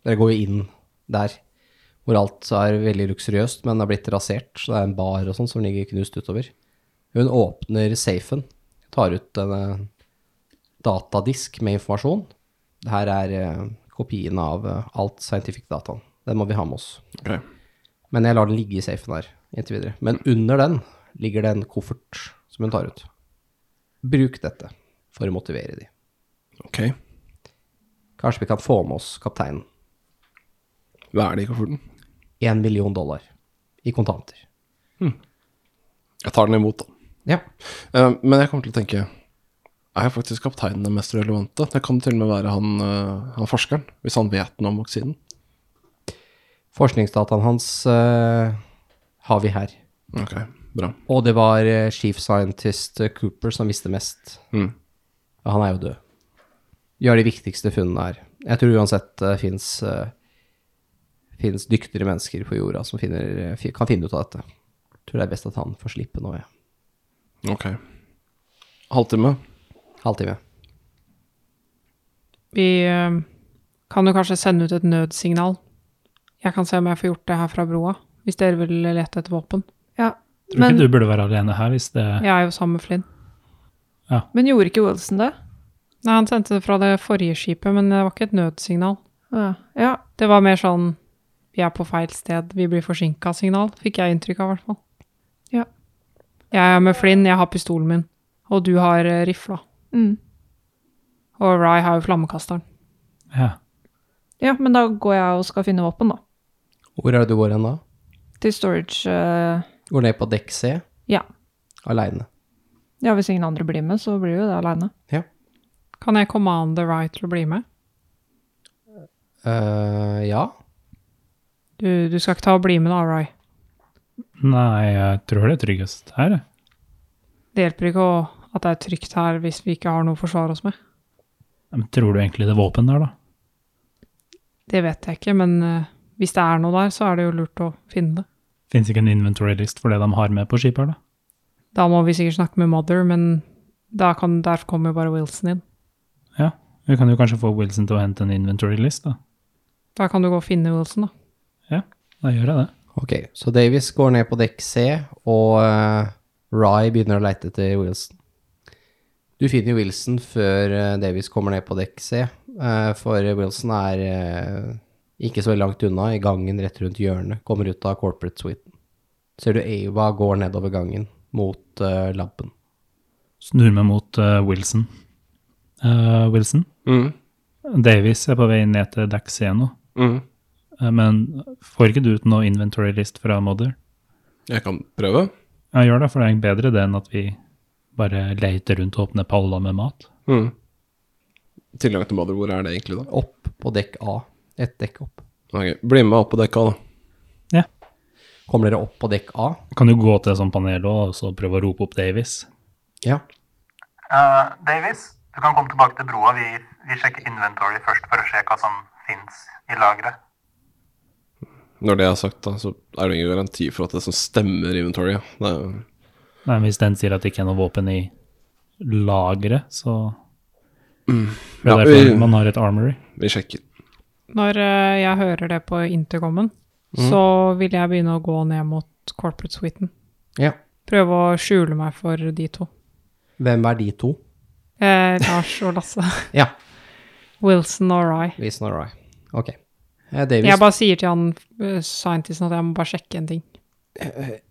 B: Dere går jo inn der, hvor alt er veldig luksuriøst, men har blitt rasert. Så det er en bar og sånn som ligger knust utover. Hun åpner safen, tar ut en eh, datadisk med informasjon. Det her er eh, kopien av eh, alt scientific dataen. Den må vi ha med oss.
D: Ok.
B: Men jeg lar den ligge i safen her inntil videre. Men under den ligger det en koffert som hun tar ut. Bruk dette for å motivere de.
D: ok.
B: Kanskje vi kan få med oss kapteinen.
D: Hva er det i kofferten?
B: Én million dollar i kontanter.
D: Jeg tar den imot, da.
B: Ja.
D: Eh, men jeg kommer til å tenke er jo faktisk kapteinen den mest relevante. Det kan til og med være han, eh, han forskeren, hvis han vet noe om vaksinen.
B: Forskningsdataen hans eh, har vi her.
D: Ok, bra.
B: Og det var eh, chief scientist eh, Cooper som visste mest.
D: Mm.
B: Ja, Han er jo død. Gjør de viktigste funnene her. Jeg tror uansett eh, det fins Fins dyktigere mennesker på jorda som finner, eh, fi- kan finne ut av dette. Jeg tror det er best at han får slippe nå, jeg.
D: Ok. Halvtime.
B: Halvtime.
C: Vi eh, kan jo kanskje sende ut et nødsignal. Jeg kan se om jeg får gjort det her fra broa, hvis dere vil lete etter våpen.
F: Ja.
E: Tror
F: Men,
E: ikke du burde være alene her hvis det
C: Jeg er jo sammen med Flynn.
F: men gjorde ikke Wilson det?
C: Nei, han sendte det fra det forrige skipet, men det var ikke et nødsignal.
F: Ja. ja.
C: Det var mer sånn vi er på feil sted, vi blir forsinka-signal, fikk jeg inntrykk av i hvert fall.
F: Ja.
C: Jeg er med Flynn, jeg har pistolen min, og du har eh, rifla.
F: Mm.
C: Og Ry har jo flammekasteren.
E: ja.
F: ja, men da går jeg og skal finne våpen, da.
B: Hvor er det du går hen da?
F: Til storage eh,
B: Går ned på dekk C?
F: Ja.
B: Aleine.
F: Ja, hvis ingen andre blir med, så blir jo det aleine.
C: Kan jeg commande Ry til å bli med?
B: Eh, ja.
C: Du, du skal ikke ta og bli med da, Ry.
E: Nei, jeg tror det er tryggest her. jeg.
C: Det hjelper ikke å, at det er trygt her hvis vi ikke har noe å forsvare oss med.
E: Men tror du egentlig det er våpen der, da?
C: Det vet jeg ikke, men eh, hvis det er noe der, så er det jo lurt å finne det.
E: Fins ikke en inventory list for det de har med på skipet her, da?
C: Da må vi sikkert snakke med Mother, men da kan, derfor kommer jo bare Wilson inn.
E: Vi kan jo kanskje få Wilson til å hente en inventory list, da.
C: Da kan du gå og finne Wilson, da.
E: Da gjør jeg det.
B: Ok, så Davis går ned på dekk C, og eh, Rye begynner å leite etter Wilson. Du finner Wilson før eh, Davis kommer ned på dekk C, eh, for Wilson er eh, ikke så veldig langt unna, i gangen rett rundt hjørnet, kommer ut av corporate suiten. Ser du Ava går nedover gangen mot eh, labben.
E: Snur meg mot eh, Wilson. Eh, Wilson?
D: Mm.
E: Davies er på vei ned til dekk C nå.
D: Mm.
E: Eh, men får ikke du ut noe inventory list fra Mother?
D: Jeg kan prøve.
E: Ja, gjør det, for det er bedre det enn at vi bare leter rundt og åpner paller med mat.
D: Mm. Tilgang til Mother, hvor er det egentlig, da?
B: Opp på dekk A, ett dekk opp.
D: Ok, Bli med opp på dekka, da.
B: Kommer dere opp på dekk A?
E: Kan du gå til et sånt panel også, og så prøve å rope opp Davies?
B: Ja.
H: Eh, Davis, du kan komme tilbake til broa. Vi, vi sjekker inventory først for å se hva som fins i lageret.
D: Når det er sagt, da, så er det jo ingen garanti for at det som stemmer i inventoryet. Det er jo
E: Nei, men hvis den sier at det ikke er noe våpen i lageret, så Det
B: Mm.
D: Ja,
E: er
D: vi-
E: derfor man har et armory.
D: Vi sjekker.
C: Når eh, jeg hører det på intercomen, så vil jeg begynne å gå ned mot corporate suiten.
B: ja.
C: Prøve å skjule meg for de to.
B: Hvem er de to?
C: Eh, Lars og Lasse.
B: Ja,
C: Wilson og Rye.
B: Wilson og Rye. Ok. Eh, Davis
C: Jeg bare sier til han eh, scientisten at jeg må bare sjekke en ting.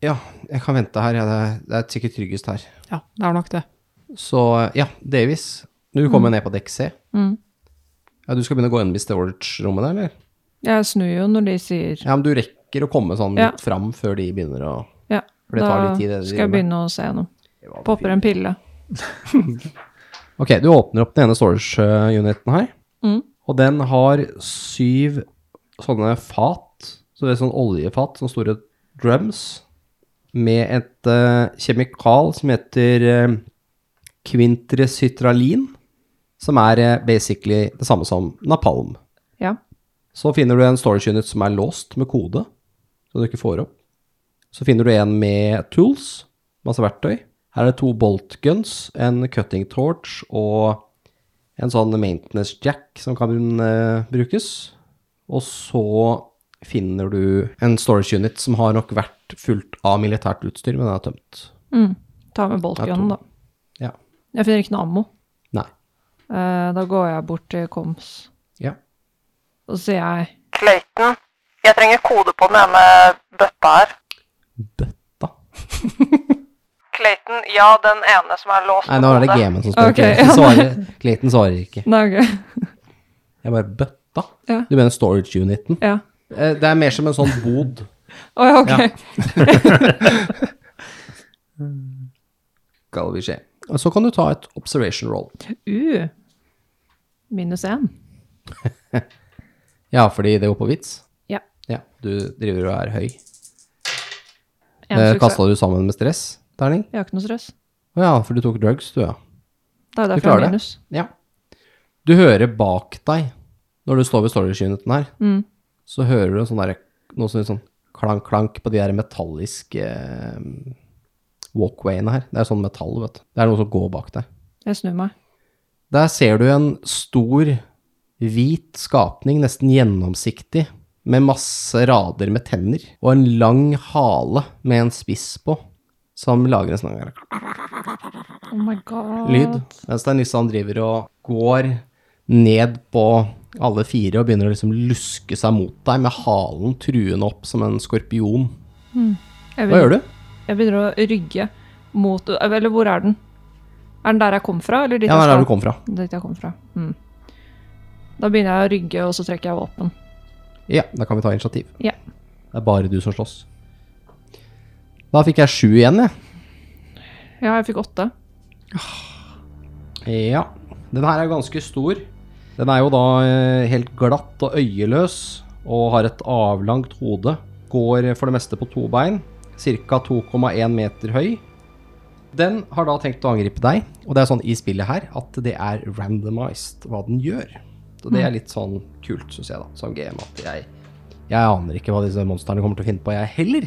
B: Ja, jeg kan vente her. Ja, det, er, det er sikkert tryggest her.
C: Ja, det er nok det.
B: Så ja, Davis, du kommer ned på dekk C.
F: Mm.
B: Ja, du skal begynne å gå inn i storage-rommet der, eller?
F: Jeg snur jo når de sier
B: Ja, men du rekker å komme sånn
F: Ja.
B: litt fram før de begynner å
F: ja.
B: For det tar litt tid, det
F: da
B: de
F: skal jeg
B: driver med.
F: begynne å se noe. Popper en pille.
B: Ok, du åpner opp den ene storage-uniten her.
F: Mm.
B: Og den har syv sånne fat, så det er sånn oljefat, sånne store drums, med et eh, kjemikal som heter uh, quintresytralin, som er eh, basically det samme som napalm.
F: Ja.
B: Så finner du en storage unit som er låst med kode, så du ikke får opp. Så finner du en med tools, masse verktøy. Her er det to bolt guns, en cutting torch og en sånn maintenance jack som kan eh, brukes. Og så finner du en storage unit som har nok vært fullt av militært utstyr, men den er tømt.
F: Mm. Ta med
B: Det er to.
F: boltgunnen, da.
B: Ja.
F: Jeg finner ikke noe ammo.
B: Nei.
F: Eh, da går jeg bort til Koms,
B: Ja.
F: og så sier jeg
H: Clayton, jeg trenger kode på den ene bøtta her.
B: Bøtta.
H: Clayton, ja, den ene som er låst
B: Nei, nå er det gamen som spør.
F: Ok,
B: Okay,
F: ja,
B: svarer, Clayton svarer ikke.
F: Nei, ok.
B: Jeg bare Bøtta?
F: Ja.
B: Du mener storage uniten?
F: Ja.
B: Eh, Det er mer som en sånn bod.
F: Å ja, ok.
B: skal vi se. Så kan du ta et observation roll.
F: Uh, minus én.
B: Ja, fordi det går på vits.
F: Ja.
B: Ja, Du driver og er høy.
F: En
B: Eh,
F: suksess.
B: Kasta du sammen med stress, terning?
F: Jeg har ikke noe stress.
B: Å ja, for du tok drugs, du, ja.
F: Det er jo
B: Du
F: derfor jeg
B: klarer
F: har
B: det.
F: minus.
B: Ja. Du hører bak deg, når du står ved storage-uniten her,
F: Mm.
B: så hører du en sånn der, noe sånn, sånn klank-klank på de der metalliske eh, walkwayene her. Det er sånn metall, vet du. Det er noe som går bak deg.
F: Jeg snur meg.
B: Der ser du en stor, hvit skapning, nesten gjennomsiktig, med masse rader med tenner, og en lang hale med en spiss på, som lager en sånn
F: Oh my god.
B: lyd, mens det er Nissan driver og går ned på alle fire og begynner å liksom luske seg mot deg med halen truende opp som en skorpion. Hva
F: Jeg begynner,
B: gjør du?
F: jeg begynner å rygge mot Eller hvor er den? Er den der jeg kom fra, eller dit
B: Ja,
F: jeg
B: der er
F: skal?
B: der du kom fra.
F: Dit jeg kom fra. Mm. Da begynner jeg å rygge, og så trekker jeg våpen.
B: Ja, da kan vi ta initiativ.
F: Ja.
B: Det er bare du som slåss. Da fikk jeg sju igjen, jeg.
F: Ja, jeg fikk åtte.
B: Ja. Den her er ganske stor. Den er jo da eh, helt glatt og øyeløs og har et avlangt hode. Går for det meste på to bein, ca. 2,1 meter høy. Den har da tenkt å angripe deg, og det er sånn i spillet her at det er randomized hva den gjør. Så det er litt sånn kult, syns jeg, da, som GM, at jeg, jeg aner ikke hva disse monstrene kommer til å finne på, jeg heller.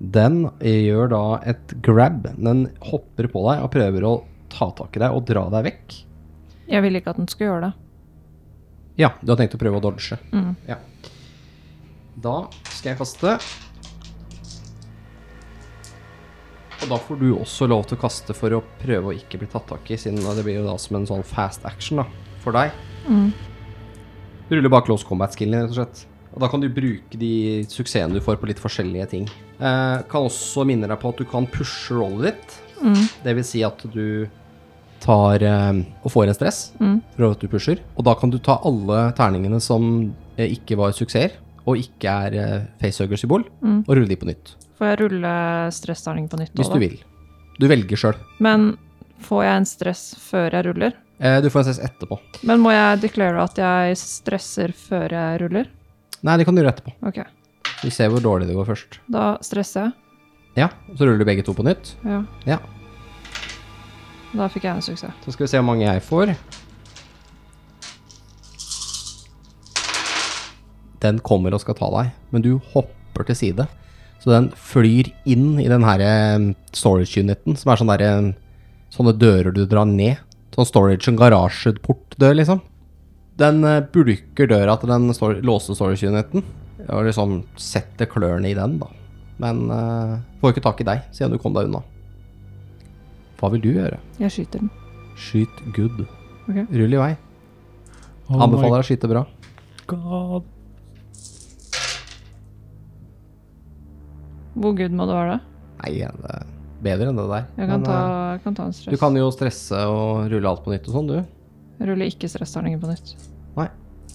B: Den gjør da et grab. Den hopper på deg og prøver å ta tak i deg og dra deg vekk.
F: Jeg ville ikke at den skulle gjøre det.
B: Ja, du har tenkt å prøve å dodge.
F: Mm.
B: Ja. Da skal jeg kaste. Og da får du også lov til å kaste for å prøve å ikke bli tatt tak i, siden det blir jo da som en sånn fast action da, for deg. Du ruller bare close combat-skillen, din, rett og slett. Og da kan du bruke de suksessene du får på litt forskjellige ting. Eh, kan også minne deg på at du kan pushe rollet ditt. Det vil si at du tar eh, og får en stress for at du pusher. Og da kan du ta alle terningene som eh, ikke var suksesser, og ikke er eh, facehugger-symbol, og rulle de på nytt.
F: Får jeg rulle stressterning på nytt? nå,
B: Hvis
F: da?
B: du vil. Du velger sjøl.
F: Men får jeg en stress før jeg ruller?
B: Eh, du får en stress etterpå.
F: Men må jeg declare at jeg stresser før jeg ruller?
B: Nei, det kan du gjøre etterpå.
F: Ok,
B: Vi ser hvor dårlig det går først.
F: da stresser jeg.
B: Ja, så ruller du begge to på nytt.
F: Ja.
B: Ja.
F: Da fikk jeg en suksess.
B: Så skal vi se hvor mange jeg får. Den kommer og skal ta deg, men du hopper til side. Så den flyr inn i den her eh, storage uniten, som er sånn der, eh, sånne dører du drar ned. Sånn storage, en garasjeportdør, liksom. Den eh, bulker døra til den stor låste storage uniten, og liksom setter klørne i den, da. Men eh, får ikke tak i deg, siden du kom deg unna. Hva vil du gjøre?
F: Jeg skyter den.
B: Skyt good.
F: Ok.
B: Rull i vei.
E: Oh my
B: Anbefaler deg å skyte bra.
E: god.
F: Hvor good må det være? da?
B: Nei, det er bedre enn det der.
F: Jeg kan,
B: Men,
F: ta,
B: eh,
F: jeg kan ta en stress.
B: du kan jo stresse og rulle alt på nytt og sånn, du.
F: Rulle ikke stressterningen på nytt.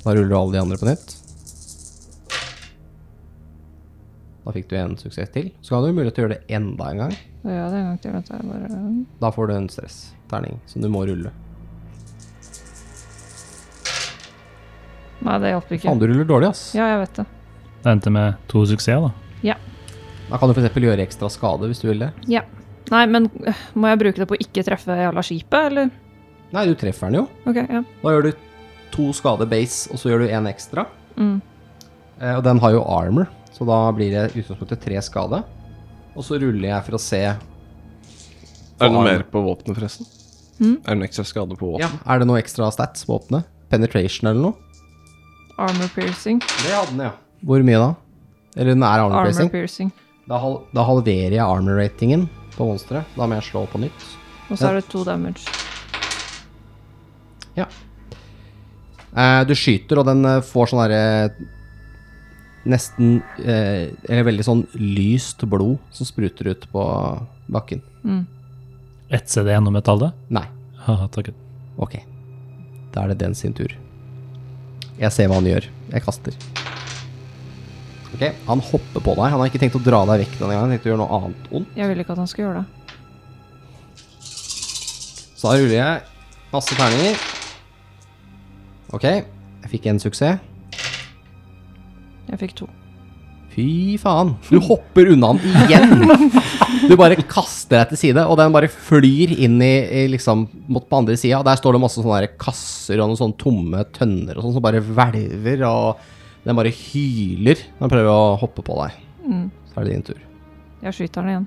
B: Da ruller du alle de andre på nytt. Da fikk du en suksess til. Så kan du ha mulighet til å gjøre det enda en gang.
F: Da gjør jeg det en gang til. Vet du. Jeg bare...
B: Da får du en stressterning som du må rulle.
F: Nei, det hjalp ikke.
B: Faen, du ruller dårlig, ass.
F: Ja, jeg vet det.
E: Det endte med to suksesser, da.
B: Da kan du f.eks. gjøre ekstra skade hvis du vil det.
F: Nei, men øh, må jeg bruke det på å ikke treffe jævla skipet, eller?
B: Nei, du treffer den jo.
F: Ok, ja.
B: Da gjør du to skade base, og så gjør du én ekstra.
F: Mm.
B: Eh, Og den har jo armor, så da blir det i utgangspunktet tre skade. Og så ruller jeg for å se
G: Er det noe
B: Faen.
G: mer på våpenet, forresten?
F: Mm.
G: Er det en ekstra skade på våpenet?
B: ja, Er det noe ekstra stats på våpenet? Penetration eller noe?
F: Armor piercing.
B: Det hadde den, ja. Hvor mye da? Eller den er armor
F: Armor
B: piercing?
F: piercing.
B: Da, hal da halverer jeg armor ratingen på monsteret. Da må jeg slå på nytt.
F: Og så er det to damage.
B: Eh, du skyter, og den eh, får sånn derre Nesten eh, Eller veldig sånn lyst blod som spruter ut på bakken.
E: Etse det gjennom metallet?
B: Nei.
E: Haha, takk.
B: Ok. Da er det den sin tur. Jeg ser hva han gjør. Jeg kaster. Ok, Han hopper på deg. Han har ikke tenkt å dra deg vekk denne gangen. Han har tenkt å gjøre noe annet ondt.
F: Jeg ville ikke at han skulle gjøre det.
B: Så da ruller jeg masse terninger. Ok, jeg fikk en suksess.
F: Jeg fikk to.
B: Fy faen. Du hopper unna den igjen. Du bare kaster deg til side, og den bare flyr inn i, i liksom, mot på andre sida. Der står det masse sånne der kasser og noen sånne tomme tønner og sånn som bare hvelver, og den bare hyler når den prøver å hoppe på deg.
F: Mm.
B: Så er det din tur.
F: Jeg skyter den igjen.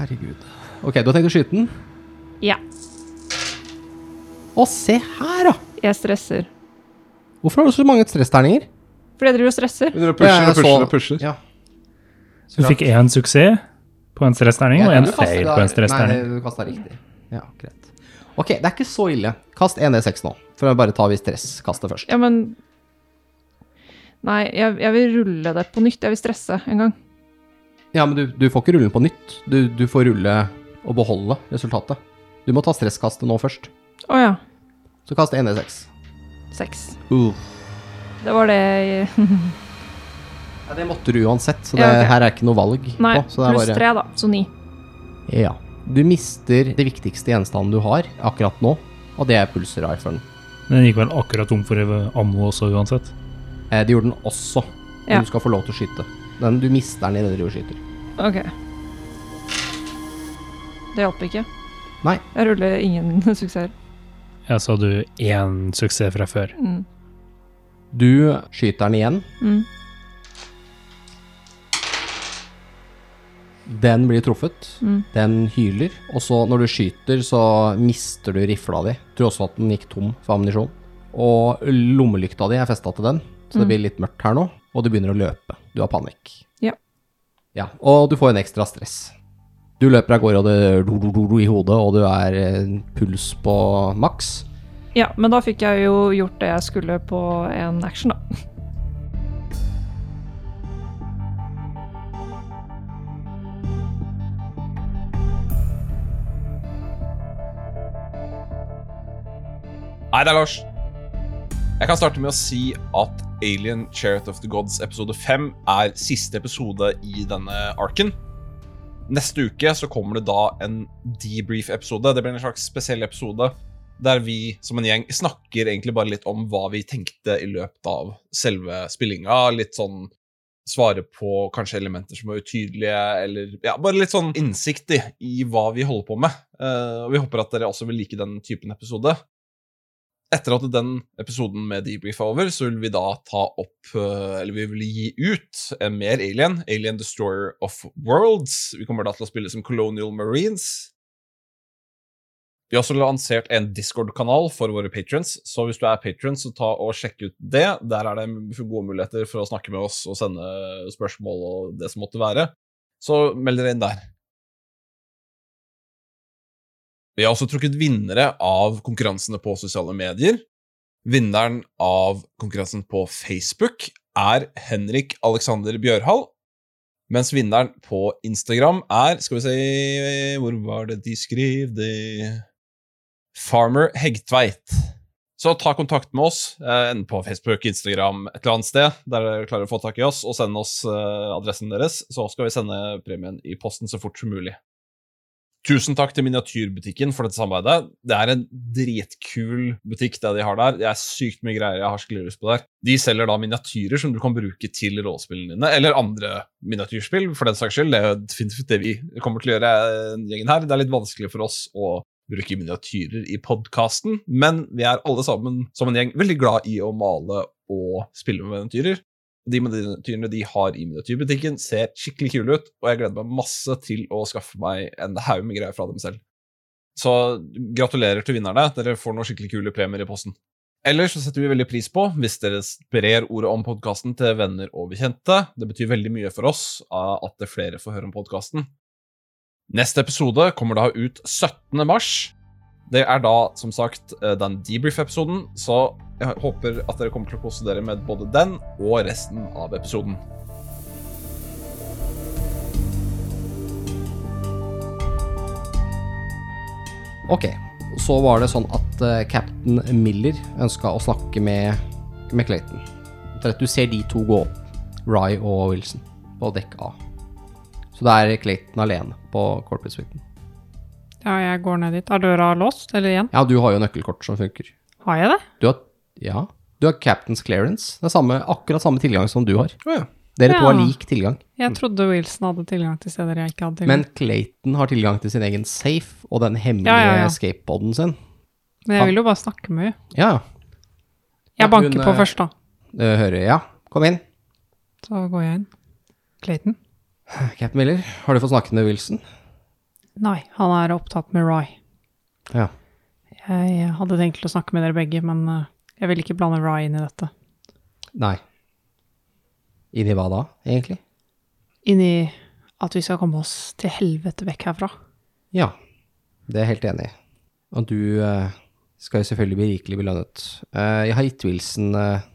B: Herregud. Ok, du har tenkt å skyte den?
F: Ja.
B: Å, se her, da!
F: Jeg stresser.
B: Hvorfor har du så mange stressterninger?
F: Fordi jeg driver og stresser.
D: Begynner å pushe
B: Jeg
D: og pushe
B: så-
D: og pushe.
B: Ja.
E: Du fikk én suksess på en stressterning og
B: Ja,
E: én
B: du kastet
E: feil
B: da-
E: på en stressterning.
B: Nei, du kasta riktig. Ja, greit. Ok, det er ikke så ille. Kast 1D6 nå, for å bare ta vi stresskastet først.
F: Ja, men Nei, jeg, jeg vil rulle det på nytt. Jeg vil stresse en gang.
B: Ja, men du, du får ikke rulle den på nytt. Du, du får rulle og beholde resultatet. Du må ta stresskastet nå først.
F: Å ja.
B: Så kast 1D6.
F: Seks.
B: Uh.
F: Det var det jeg
B: Ja, det måtte du uansett, så det,
F: Ja, ok.
B: her er ikke noe valg
F: Nei,
B: på. Så det er
F: pluss
B: bare...
F: tre, da. Så ni.
B: Ja. Du mister det viktigste gjenstanden du har akkurat nå, og det er pulser-riflen.
E: Den gikk vel akkurat tom for ammo også, uansett.
B: Eh, det gjorde den også, men
F: Ja.
B: du skal få lov til å skyte. Den, du mister den i det du skyter.
F: Ok. Det hjalp ikke.
B: Nei.
F: Jeg ruller ingen suksesser.
E: Ja, så hadde du én suksess fra før.
F: Mm.
B: Du skyter den igjen.
F: Mm.
B: Den blir truffet.
F: Mm.
B: Den hyler. Og så, når du skyter, så mister du rifla di. Tror også at den gikk tom for ammunisjon. Og lommelykta di er festa til den, så det
F: Mm.
B: blir litt mørkt her nå. Og du begynner å løpe. Du har panikk.
F: Ja.
B: Ja, Og du får en ekstra stress. Du løper av gårde, og det gjør do, do, do, do i hodet, og du er eh, puls på maks.
F: Ja, men da fikk jeg jo gjort det jeg skulle på en action, da.
I: Nei, det er Lars. Jeg kan starte med å si at Alien Chariot of the Gods episode 5 er siste episode i denne arken. Neste uke så kommer det da en debrief-episode. Det blir en slags spesiell episode der vi som en gjeng snakker egentlig bare litt om hva vi tenkte i løpet av selve spillinga. Litt sånn svare på kanskje elementer som er utydelige, eller ja, bare litt sånn innsikt i, i hva vi holder på med. Eh, og vi håper at dere også vil like den typen episode etter at den episoden med debrief er over, så vil vi da ta opp eh, Eller vi vil gi ut en mer Alien. Alien Destroyer of Worlds. Vi kommer da til å spille som Colonial Marines. Vi har også lansert en Discord-kanal for våre patrons, så hvis du er patron, så ta og sjekk ut det. Der er det gode muligheter for å snakke med oss og sende spørsmål og det som måtte være. Så meld dere inn der. Vi har også trukket vinnere av konkurransene på sosiale medier. Vinneren av konkurransen på Facebook er Henrik Alexander Bjørhall. Mens vinneren på Instagram er Skal vi se Hvor var det de skrev det Farmer Hegtveit. Så ta kontakt med oss, eh, enten på Facebook, Instagram, et eller annet sted, der dere klarer å få tak i oss, og send oss eh, adressen deres, så skal vi sende premien i posten så fort som mulig. Tusen takk til Miniatyrbutikken for dette samarbeidet. Det er en dritkul butikk, det de har der. Det er sykt mye greier jeg har skikkelig lyst på der. De selger da miniatyrer som du kan bruke til rollespillene dine, eller andre miniatyrspill, for den saks skyld. Det er jo definitivt det vi kommer til å gjøre, eh, gjengen her. Det er litt vanskelig for oss å bruke miniatyrer i podkasten, men vi er alle sammen som en gjeng veldig glad i å male og spille med miniatyrer. De miniatyrene de har i miniatyrbutikken, ser skikkelig kule ut, og jeg gleder meg masse til å skaffe meg en haug med greier fra dem selv. Så gratulerer til vinnerne. Dere får noen skikkelig kule premier i posten. Ellers så setter vi veldig pris på hvis dere sprer ordet om podkasten til venner og bekjente. Det betyr veldig mye for oss eh, at det er flere får høre om podkasten. Neste episode kommer da ut 17. mars. Det er da, som sagt, eh, den debrief-episoden, så jeg håper at dere kommer til å kose dere med både den og resten av episoden.
B: Ok, så var det sånn at eh, Captain Miller ønska å snakke med, med Clayton. Omtrent Du ser de to gå opp, Rye og Wilson, på dekk A. Så det er Clayton alene på corporate suiten.
C: Ja, jeg går ned dit. Er døra låst, eller igjen?
B: Ja, du har jo nøkkelkort som funker.
C: Har jeg det?
B: Du har Ja. Du har captain's clearance. Det er samme, akkurat samme tilgang som du har.
D: Å ja.
B: Dere to har
C: Ja.
B: lik tilgang.
C: Jeg trodde Wilson hadde tilgang til steder jeg ikke hadde tilgang
B: Mm. Men Clayton har tilgang til sin egen safe og den hemmelige
C: Ja, ja, ja.
B: escape-poden sin.
C: Men jeg vil jo bare snakke med henne.
B: Ja, Ja,
C: Jeg banker
B: hun,
C: på
B: eh,
C: først, da.
B: det hører jeg. Ja, kom inn.
C: Så går jeg inn. Clayton?
B: Captain Miller, har du fått snakket med Wilson?
C: Nei, han er opptatt med Roy.
B: Ja.
C: Jeg hadde tenkt til å snakke med dere begge, men eh, jeg vil ikke blande Roy inn i dette.
B: Nei. Inni hva da, egentlig?
C: Inn i at vi skal komme oss til helvete vekk herfra.
B: Ja, det er jeg helt enig i. Og du eh, skal jo selvfølgelig bli rikelig belønnet. Eh, jeg har gitt Wilson eh,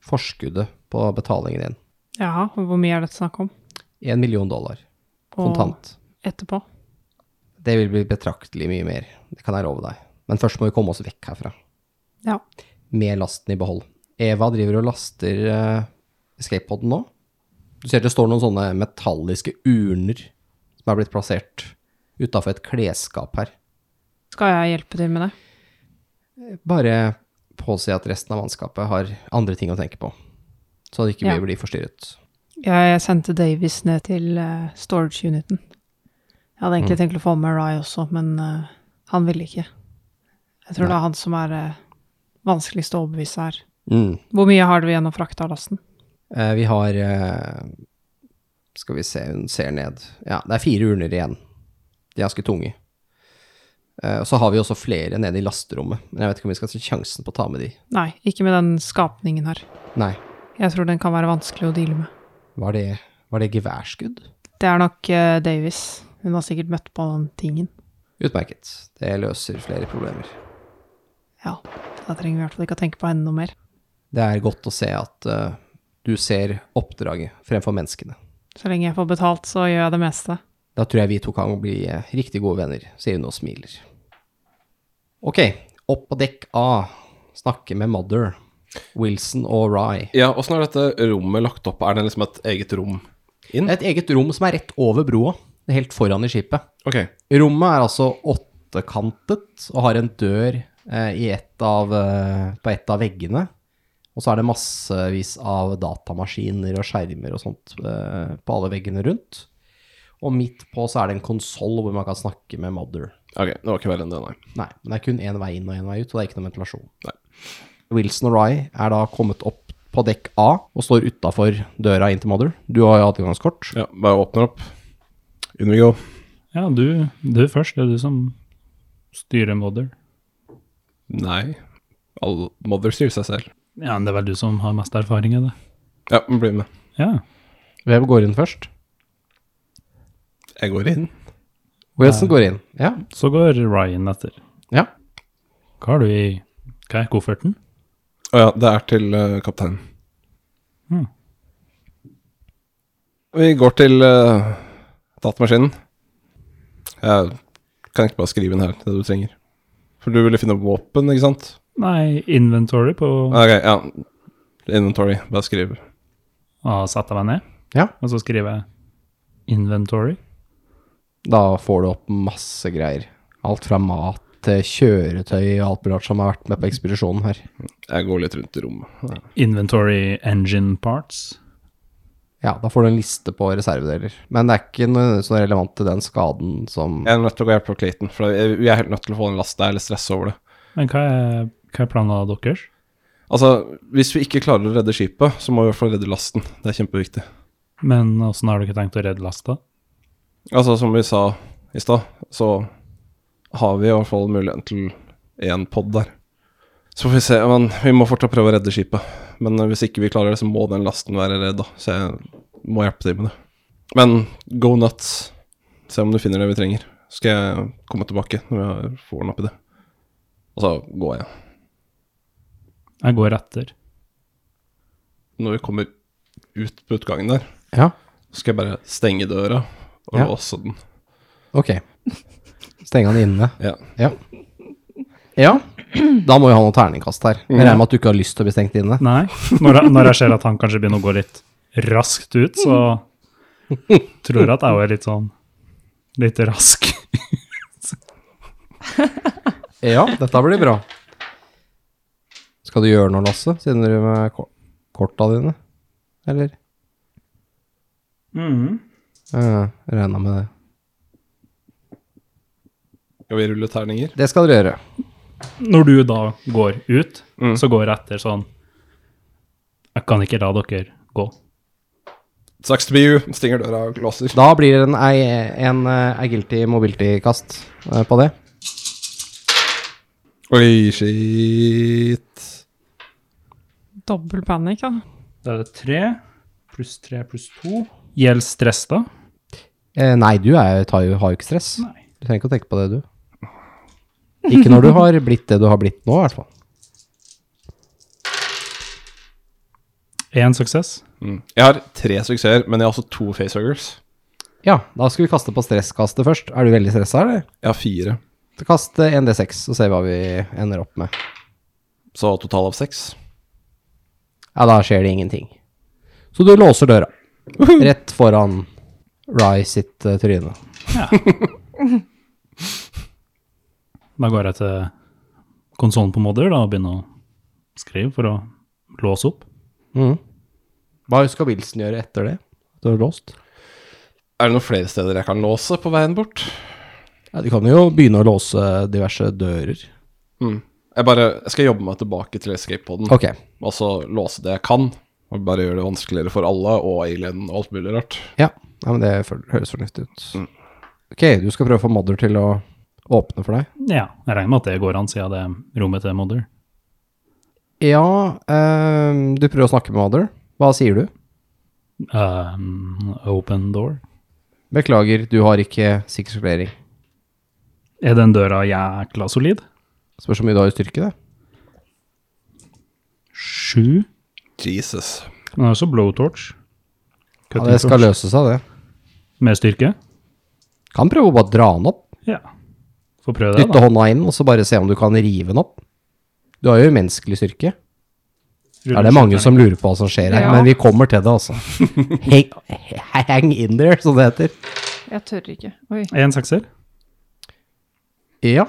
B: forskuddet på betalingen din.
C: Jaha, hvor mye er det snakk om?
B: Én million dollar.
C: Og
B: Kontant.
C: etterpå?
B: Det vil bli betraktelig mye mer. Det kan jeg love deg. Men først må vi komme oss vekk herfra.
C: Ja.
B: Med lasten i behold. Eva driver og laster uh, escape-poden nå. Du ser det står noen sånne metalliske urner som er blitt plassert utafor et klesskap her.
C: Skal jeg hjelpe til med det?
B: Bare påse at resten av mannskapet har andre ting å tenke på. Så det ikke vi
C: Ja.
B: blir forstyrret.
C: Jeg sendte Davies ned til eh, storage-uniten. Jeg hadde egentlig tenkt å få med Rye også, men eh, han ville ikke. Jeg tror det er han som er eh, vanskeligst å overbevise her.
B: Mm.
C: Hvor mye har du igjen å frakte av lasten?
B: Eh, vi har eh, Skal vi se, hun ser ned. Ja, det er fire urner igjen. De er ganske tunge. Eh, og så har vi også flere nede i lasterommet, men jeg vet ikke om vi skal ta sjansen på å ta med de.
C: Nei, ikke med den skapningen her.
B: Nei,
C: Jeg tror den kan være vanskelig å deale med.
B: var det, var det geværskudd?
C: Det er nok eh, Davies. Hun har sikkert møtt på den tingen.
B: Utmerket. Det løser flere problemer.
C: Ja, da trenger vi i hvert fall ikke å tenke på henne noe mer.
B: Det er godt å se at eh, du ser oppdraget fremfor menneskene.
C: Så lenge jeg får betalt, så gjør jeg det meste.
B: Da tror jeg vi to kan bli eh, riktig gode venner, sier hun og smiler. Ok, opp på dekk A. Snakke med Mother. Wilson og Rye.
D: Ja, åssen er dette rommet lagt opp? Er det liksom et eget rom inn?
B: Det er et eget rom som er rett over broa, helt foran i skipet.
D: Ok.
B: Rommet er altså åttekantet og har en dør eh, i ett av, eh, på et av veggene. Og så er det massevis av datamaskiner og skjermer og sånt eh, på alle veggene rundt. Og midt på så er det en konsoll hvor man kan snakke med Mother.
D: Ok, Det var ikke verre enn det, nei.
B: Nei, men det er kun én vei inn og én vei ut, og det er ikke noe ventilasjon. Wilson og Rye er da kommet opp på dekk A og står utafor døra inn til Mother. Du har jo adgangskort.
D: Ja, Bare åpner opp. In we go.
E: Ja, du, du først. Det er du som styrer Mother.
D: Nei. All mother styrer seg selv.
E: Ja, men det er vel du som har mest erfaring i det.
D: Ja, men bli med.
E: Ja.
B: Hvem går inn først?
D: Jeg går inn.
B: Wilson går inn. Eh, Ja.
E: Så går Ryan etter.
B: Ja.
E: Hva har du i hva er kofferten?
D: Å ja, det er til eh, kapteinen.
E: Mhm.
D: Vi går til uh, datamaskinen. Jeg kan ikke bare skrive inn her det du trenger. For du ville finne våpen, ikke sant?
E: Nei, inventory på å
D: Ok, ja. Inventory. Bare skriv.
E: sette meg ned.
B: Ja.
E: Og så skriver jeg inventory.
B: Da får du opp masse greier. Alt fra mat til kjøretøy og alt mulig rart som har vært med på ekspedisjonen her.
D: Jeg går litt rundt i rommet.
E: Inventory engine parts.
B: Ja, da får du en liste på reservedeler. Men det er ikke noe så relevant til den skaden som
D: Jeg er nødt til å gå hjelp på Clayton, for jeg- vi er helt nødt til å få den lasta. Jeg er litt stressa over det.
E: Men hva er, hva er planene deres?
D: Altså, hvis vi ikke klarer å redde skipet, så må vi i hvert fall redde lasten. Det er kjempeviktig.
E: Men åssen har dere tenkt å redde lasta?
D: Altså, som vi sa i stad, så har vi i hvert fall muligheten til én pod der. Så får vi se. Men vi må fortsatt prøve å redde skipet. Men eh, hvis ikke vi klarer det, så må den lasten være redda. Så jeg må hjelpe til med det. Men go nuts. Se om du finner det vi trenger. Så skal jeg komme tilbake når jeg får den oppi det. Og så går jeg.
E: Jeg går etter.
D: Når vi kommer ut på utgangen der,
B: Ja,
D: så skal jeg bare stenge døra og
B: Ja.
D: låse den.
B: ok. Stenge han inne.
D: Ja.
B: Ja. ja. Da må jo ha noe terningkast her. Jeg regner med at du ikke har lyst til å bli stengt inne.
E: Nei, når jeg, når jeg ser at han kanskje begynner å gå litt raskt ut, så tror jeg at jeg er litt sånn litt rask.
B: Ja, dette blir bra. Skal du gjøre noe, Lasse, siden du driver med ko- korta dine? Eller?
E: Mhm.
B: Uh, Regna med det.
D: Skal vi rulle terninger?
B: Det skal dere gjøre.
E: Når du da går ut,
D: Mm.
E: så går jeg etter sånn Jeg kan ikke la dere gå.
D: Sucks to be you. Stinger døra og låser.
B: Da blir det en, ei- en eh, agility mobility-kast eh, på det.
D: Oi, shit.
C: Dobbel panikk, ja.
E: Da er det tre pluss tre pluss to. Gjelder stress, da?
B: Eh, nei, du er, tar jo, har jo ikke stress.
E: Nei.
B: Du trenger ikke å tenke på det, du. Ikke når du har blitt det du har blitt nå, i hvert fall.
E: Én suksess.
D: Mm. Jeg har tre suksesser, men jeg har også to facehuggers.
B: Ja, da skal vi kaste på stresskastet først. Er du veldig stressa, eller?
D: Jeg har fire,
B: Så Kast eh, en D6, så ser vi hva vi ender opp med.
D: så total av seks.
B: Ja, da skjer det ingenting. Så du låser døra. Rett foran Rye sitt eh, tryne.
E: Da går jeg til konsollen på Modder da, og begynner å skrive for å låse opp.
B: Mhm. Hva skal Wilson gjøre etter det? Du har låst?
D: Er det noen flere steder jeg kan låse på veien bort?
B: Ja, du kan jo begynne å låse diverse dører.
D: Mm. Jeg bare jeg skal jobbe meg tilbake til escape-poden,
B: Ok,
D: og så låse det jeg kan. Og bare gjøre det vanskeligere for alle, og alien og alt mulig rart.
B: ja. Mm. Nei, men det føl- høres fornuftig ut. Ok, du skal prøve å få Mother til å åpne for deg.
E: Ja, jeg regner med at det går an, siden det er rommet til Modder.
B: Ja, ehm, du prøver å snakke med Mother. Hva sier du?
E: Um, open door.
B: Beklager, du har ikke sikkerhetsklarering.
E: Er den døra jækla solid?
B: Spørs hvor mye du har i styrke, det.
E: Sju.
D: Jesus.
E: Den har også blowtorch.
B: Ja, det skal løse seg, det.
E: Med styrke?
B: Kan prøve å bare dra den opp.
E: Ja. Får prøve det,
B: Dytte
E: da.
B: hånda inn, og så bare se om du kan rive den opp. Du har jo umenneskelig styrke. Ja, det er mange som lurer på hva som skjer her,
F: Ja.
B: men vi kommer til det, altså. Hang, hang in there, som det heter.
F: Jeg tør ikke. Oi.
E: En sekser.
B: Ja.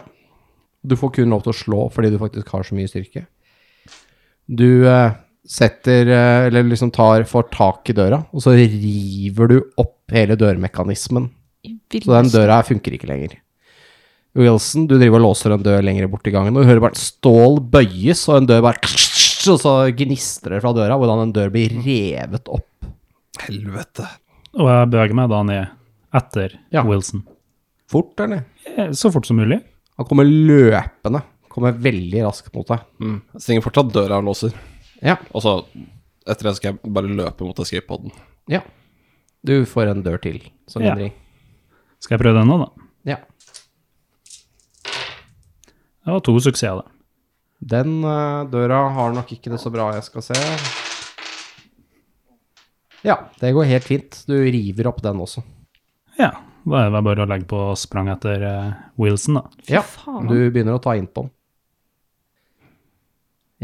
B: Du får kun lov til å slå fordi du faktisk har så mye styrke. Du eh, setter eh, Eller liksom tar, får tak i døra, og så river du opp hele dørmekanismen. Så den døra her funker ikke lenger. Wilson, du driver og låser en dør lenger bort i gangen, og du hører bare et stål bøyes, og en dør bare Og så gnistrer det fra døra, hvordan en dør blir revet opp.
D: Helvete.
E: Og jeg beveger meg da ned etter
B: Ja.
E: Wilson.
B: Fort, eller?
E: Eh, Så fort som mulig.
B: Han kommer løpende. Kommer veldig raskt mot deg.
D: Mm. Jeg Stenger fortsatt døra og låser.
B: Ja.
D: Og så, etter det skal jeg bare løpe mot escape-poden.
B: Ja. Du får en dør til som
E: Ja.
B: hindring.
E: Skal jeg prøve den nå, da?
B: Ja.
E: Det var to suksesser, det.
B: Den eh, døra har nok ikke det så bra, jeg skal se. Ja, det går helt fint. Du river opp den også.
E: Ja. Da er det bare å legge på sprang etter eh, Wilson, da.
B: Ja,
F: faen.
B: du begynner å ta innpå den.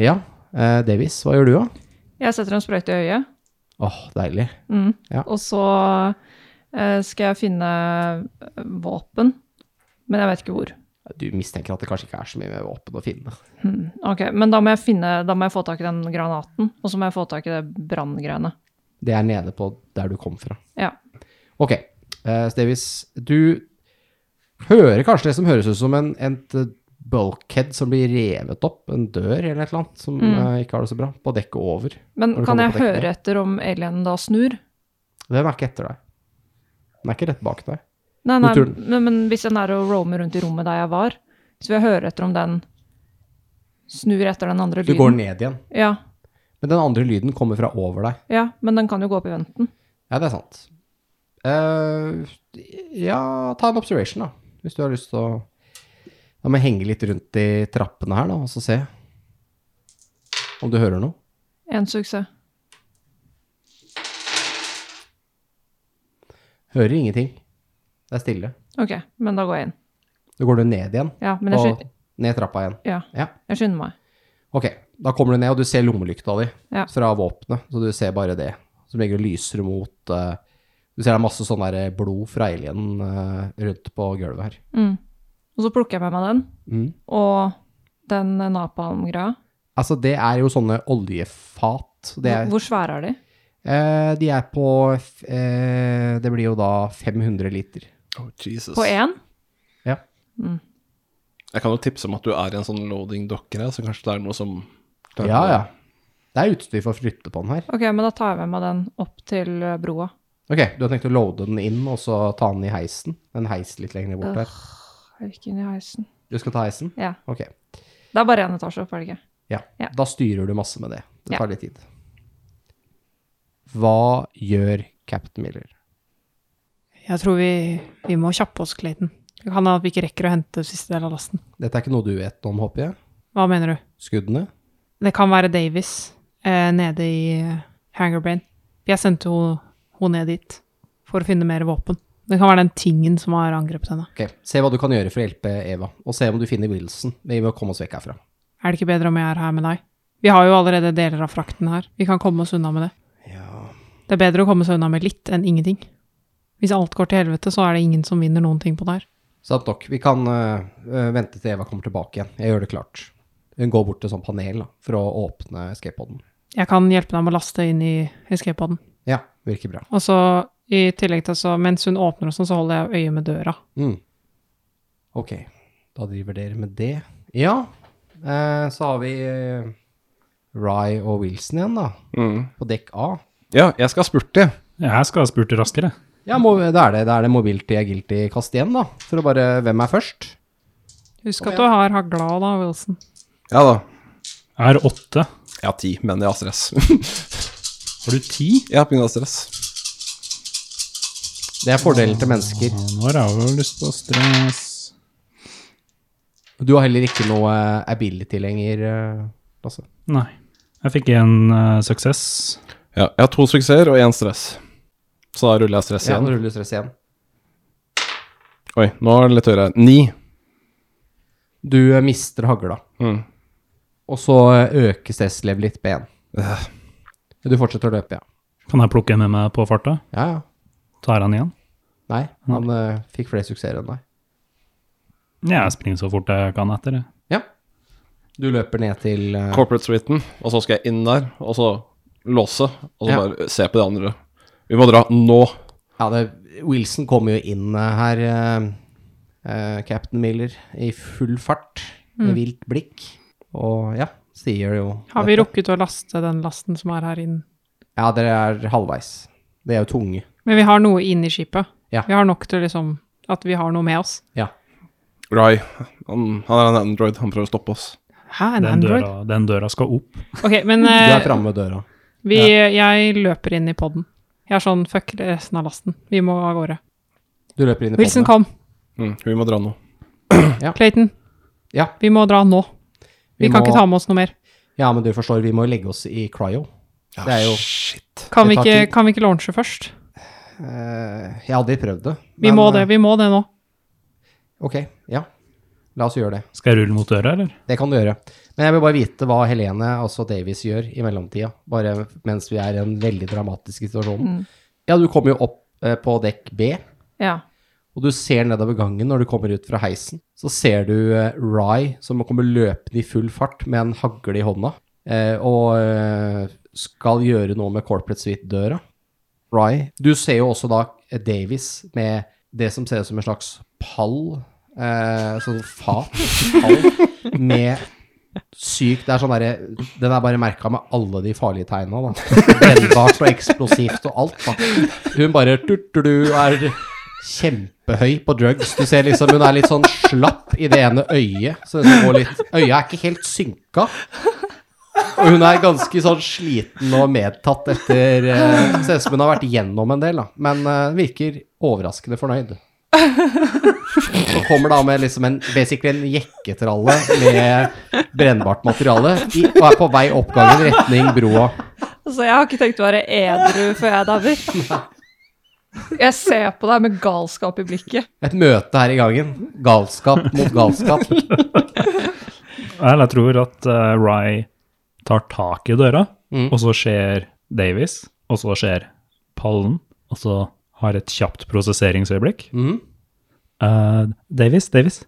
B: Ja, eh, Davies, hva gjør du, da?
F: Jeg setter en sprøyte i øyet,
B: Åh, deilig.
F: mm.
B: Ja.
F: og så eh, skal jeg finne våpen, men jeg vet ikke hvor.
B: Du mistenker at det kanskje ikke er så mye med våpen å finne.
F: Hmm. Ok, Men da må, jeg finne, da må jeg få tak i den granaten, og så må jeg få tak i det branngreiene.
B: Det er nede på der du kom fra.
F: Ja.
B: Ok, uh, Davies, du hører kanskje det som høres ut som en, en t- bulkhead som blir revet opp, en dør eller et eller annet, som
F: Mm.
B: eh, ikke har det så bra, på dekket over. Når
F: Men
B: du
F: kan
B: kommer
F: jeg
B: på dekket.
F: høre etter om alienen da snur?
B: Den er ikke etter deg. Den er ikke rett bak deg.
F: Nei, nei,
B: tror
F: men, men hvis den er og roamer rundt i rommet der jeg var, så vil jeg høre etter om den snur etter den andre
B: Du
F: lyden.
B: går ned igjen.
F: Ja,
B: Men den andre lyden kommer fra over deg.
F: ja, men den kan jo gå opp i venten.
B: Ja, det er sant. Eh, ja, ta en observation, da. Hvis du har lyst til å Da må jeg henge litt rundt i trappene her, da, og så se om du hører noe.
F: En suksess.
B: Hører ingenting. Det er stille.
F: Ok, men da går jeg inn.
B: Da går du ned igjen,
F: Ja, men jeg,
B: og
F: sky
B: ned trappa igjen.
F: ja,
B: Ja.
F: jeg skynder meg.
B: Ok, da kommer du ned, og du ser lommelykta di
F: Ja.
B: fra våpenet, så du ser bare det, som ligger og lyser mot eh, Du ser det er masse sånn der blod fra alienen eh, rundt på eh, gulvet her.
F: Mm. Og så plukker jeg med meg den,
B: Mm.
F: og den eh, napalm-greia.
B: Altså, det er jo sånne oljefat. Det er,
F: Hvor svære er de?
B: eh, de er på f- eh, Det blir jo da 500 liter.
D: Oh, Jesus.
F: På én?
D: Jeg kan jo tipse om at du er i en sånn loading dokker her, så kanskje det er noe som klarer
B: Ja,
D: å-
B: ja. Det er utstyr for å flytte på den her.
F: Ok, men da tar jeg med meg den opp til eh, broa.
B: Ok, du har tenkt å loade den inn, og så ta den i heisen? En heis litt lenger bort der.
F: Jeg vil ikke inn i heisen.
B: Du skal ta heisen?
F: Ja.
B: Ok.
F: Det er bare én etasje opp, er det ikke?
B: Ja.
F: Ja.
B: Da styrer du masse med det. Det
F: Ja.
B: tar litt tid. Hva gjør Captain Miller?
C: Jeg tror vi, vi må kjappe oss, Clayton. Det kan hende at vi ikke rekker å hente siste del av lasten.
B: Dette er ikke noe du vet om, håper jeg?
C: Hva mener du?
B: Skuddene?
C: Det kan være Davis eh, nede i eh, Hangar Brain. Jeg sendte henne ho ned dit for å finne mer våpen. Det kan være den tingen som har angrepet henne.
B: Ok, Se hva du kan gjøre for å hjelpe Eva, og se om du finner Wilson. Vi må komme oss vekk herfra.
C: Er det ikke bedre om jeg er her med deg? Vi har jo allerede deler av frakten her. Vi kan komme oss unna med det.
B: Ja
C: Det er bedre å komme seg unna med litt enn ingenting. Hvis alt går til helvete, så er det ingen som vinner noen ting på det her.
B: Sant nok. Sånn, Vi kan eh, eh, vente til Eva kommer tilbake igjen. Jeg gjør det klart. Hun går bort til sånn panel da, for å åpne skateboarden.
C: Jeg kan hjelpe deg med å laste inn i escape-poden.
B: Ja, virker bra.
C: Og så, i tillegg til så, mens hun åpner og sånn, så holder jeg øye med døra.
B: Mm. Ok, da driver dere med det. Ja, eh, så har vi eh, Rye og Wilson igjen da, på dekk A.
D: Ja, jeg skal spurte, jeg.
E: Jeg skal ha spurt raskere.
B: Ja, må, da, er det, da er det mobility er guilty-kast igjen da, for å bare, hvem er først?
C: Husk at du har hagla da, Wilson.
D: Ja da.
E: Jeg har åtte.
D: Jeg har ti, men jeg har stress.
E: Har du ti?
D: jeg har pga. stress.
B: Det er fordelen til mennesker.
E: Ja, Nå har jeg jo lyst på stress.
B: Du har heller ikke noe ability lenger, eh, Lasse.
E: Nei. Jeg fikk en eh, suksess.
D: Ja, jeg har to suksesser og én stress. Så da ruller jeg stress
B: Ja,
D: igjen.
B: nå ruller du stress igjen.
D: Oi, nå er det litt høyere. Ni.
B: Du eh, mister hagla.
D: Mm.
B: Og så eh, øker stresslevel litt ben. Øh. Du fortsetter å løpe, ja.
E: Kan jeg plukke en med meg på farta?
B: Ja, ja.
E: Tar han igjen?
B: Nei, han eh, fikk flere suksesser enn deg.
E: Ja, jeg springer så fort jeg kan etter. jeg.
B: Ja. Du løper ned til eh,
D: Corporate suiten, og så skal jeg inn der, og så låse, og så
B: Ja.
D: bare se på de andre. Vi må dra nå.
B: Ja, det, Wilson kommer jo inn eh, her, eh, eh, Captain Miller, i full fart. Med vilt blikk. Og ja, sier jo
C: Mm. Har vi
B: dette.
C: rukket å laste den lasten som er her inne?
B: Ja, dere er halvveis. Det er jo tunge.
C: Men vi har noe inni skipet.
B: Ja.
C: Vi har nok til liksom at vi har noe med oss.
B: Ja.
D: Rai, han, han er en android, han prøver å stoppe oss.
C: Hæ, en
E: Den
C: android?
E: døra, den døra skal opp.
C: Ok, men
B: Du
C: eh,
B: er framme ved døra.
C: vi, jeg løper inn i podden. Jeg er sånn, fuck resten av lasten. Vi må av gårde.
B: Du løper inn i
C: Wilson,
B: podden.
C: kom.
D: Mm, vi må dra nå.
C: Clayton.
B: Ja.
C: Vi må dra nå. Vi,
B: Vi
C: kan
B: må-
C: ikke ta med oss noe mer.
B: Ja, men du forstår, vi må legge oss i cryo. det er jo
C: Kan
B: Det tar
C: vi, ikke,
B: tid.
C: kan vi ikke launche først?
B: Eh, Jeg hadde prøvd det.
C: Vi
B: men,
C: må
B: eh,
C: det. Vi må det nå.
B: Ok, ja. La oss gjøre det.
E: Skal jeg rulle mot døra, eller?
B: Det kan du gjøre. Men jeg vil bare vite hva Helene, altså Davies, gjør i mellomtida. Bare mens vi er i en veldig dramatisk situasjon. Ja, du kommer jo opp eh, på dekk B,
F: Ja.
B: og du ser nedover gangen når du kommer ut fra heisen. Så ser du eh, Rye som kommer løpende i full fart med en hagle i hånda, eh, og eh, skal gjøre noe med corporate suite-døra. Rye. Du ser jo også da eh, Davies med det som ser ut som en slags pall, eh, sånn fat, pall, med sykt, det er sånn der, den er bare merket med alle de farlige tegnene, da. Brennbart og eksplosivt og alt, da. Hun bare tuttu-du er kjempehøy på drugs. Du ser liksom, hun er litt sånn slapp i det ene øyet, så det går litt, øyet er ikke helt synka. Og hun er ganske sånn sliten og medtatt etter, eh, ser ut som hun har vært gjennom en del, da. Men eh, virker overraskende fornøyd. Og kommer da med liksom en, basically en jekketralle med brennbart materiale i, og er på vei oppgangen retning broa.
F: Altså, jeg har ikke tenkt å være edru før jeg dauer. Jeg ser på deg med galskap i blikket.
B: Et møte her i gangen. Galskap mot galskap.
E: Eller jeg tror at eh, Rye tar tak i døra,
B: Mm.
E: og så skjer Davies, og så skjer pallen, og så har et kjapt prosesseringsøyeblikk.
B: Mhm.
E: Eh, Davies, Davies,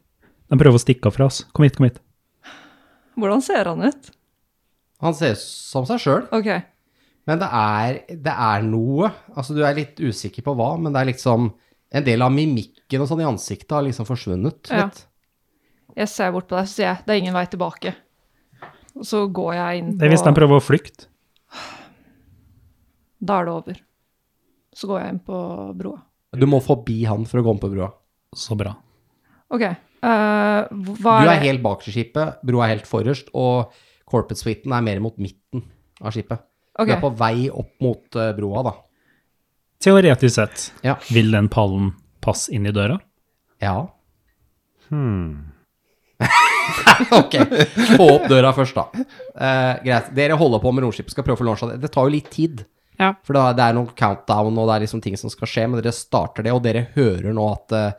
E: De prøver å stikke av fra oss. Kom hit, kom hit.
F: Hvordan ser han ut?
B: Han ser ut som seg sjøl,
F: Ok.
B: men det er, det er noe. Altså, du er litt usikker på hva, men det er liksom En del av mimikken og sånn i ansiktet har liksom forsvunnet
F: Ja.
B: litt.
F: Jeg ser bort på deg, så sier jeg det er ingen vei tilbake. Og så går jeg inn
E: Det
F: på
E: er hvis de prøver å flykte.
F: Da er det over. Så går jeg inn på broa.
B: Du må forbi han for å komme på brua.
E: Så bra.
F: Ok. eh, hva
B: Du
F: er
B: er
F: det?
B: helt bak skipet, broa er helt forrest, og corporate suiten er mer mot midten av skipet.
F: Ok.
B: Du er på vei opp mot eh, broa, da.
E: Teoretisk sett,
B: Ja.
E: vil den pallen passe inn i døra?
B: Ja. ok. Få opp døra først, da. Eh, greit. Dere holder på med romskipet, skal prøve å få launcha det. Det tar jo litt tid.
C: Ja.
B: For da- det er noen countdown, og det er liksom ting som skal skje, men dere starter det, og dere hører nå at,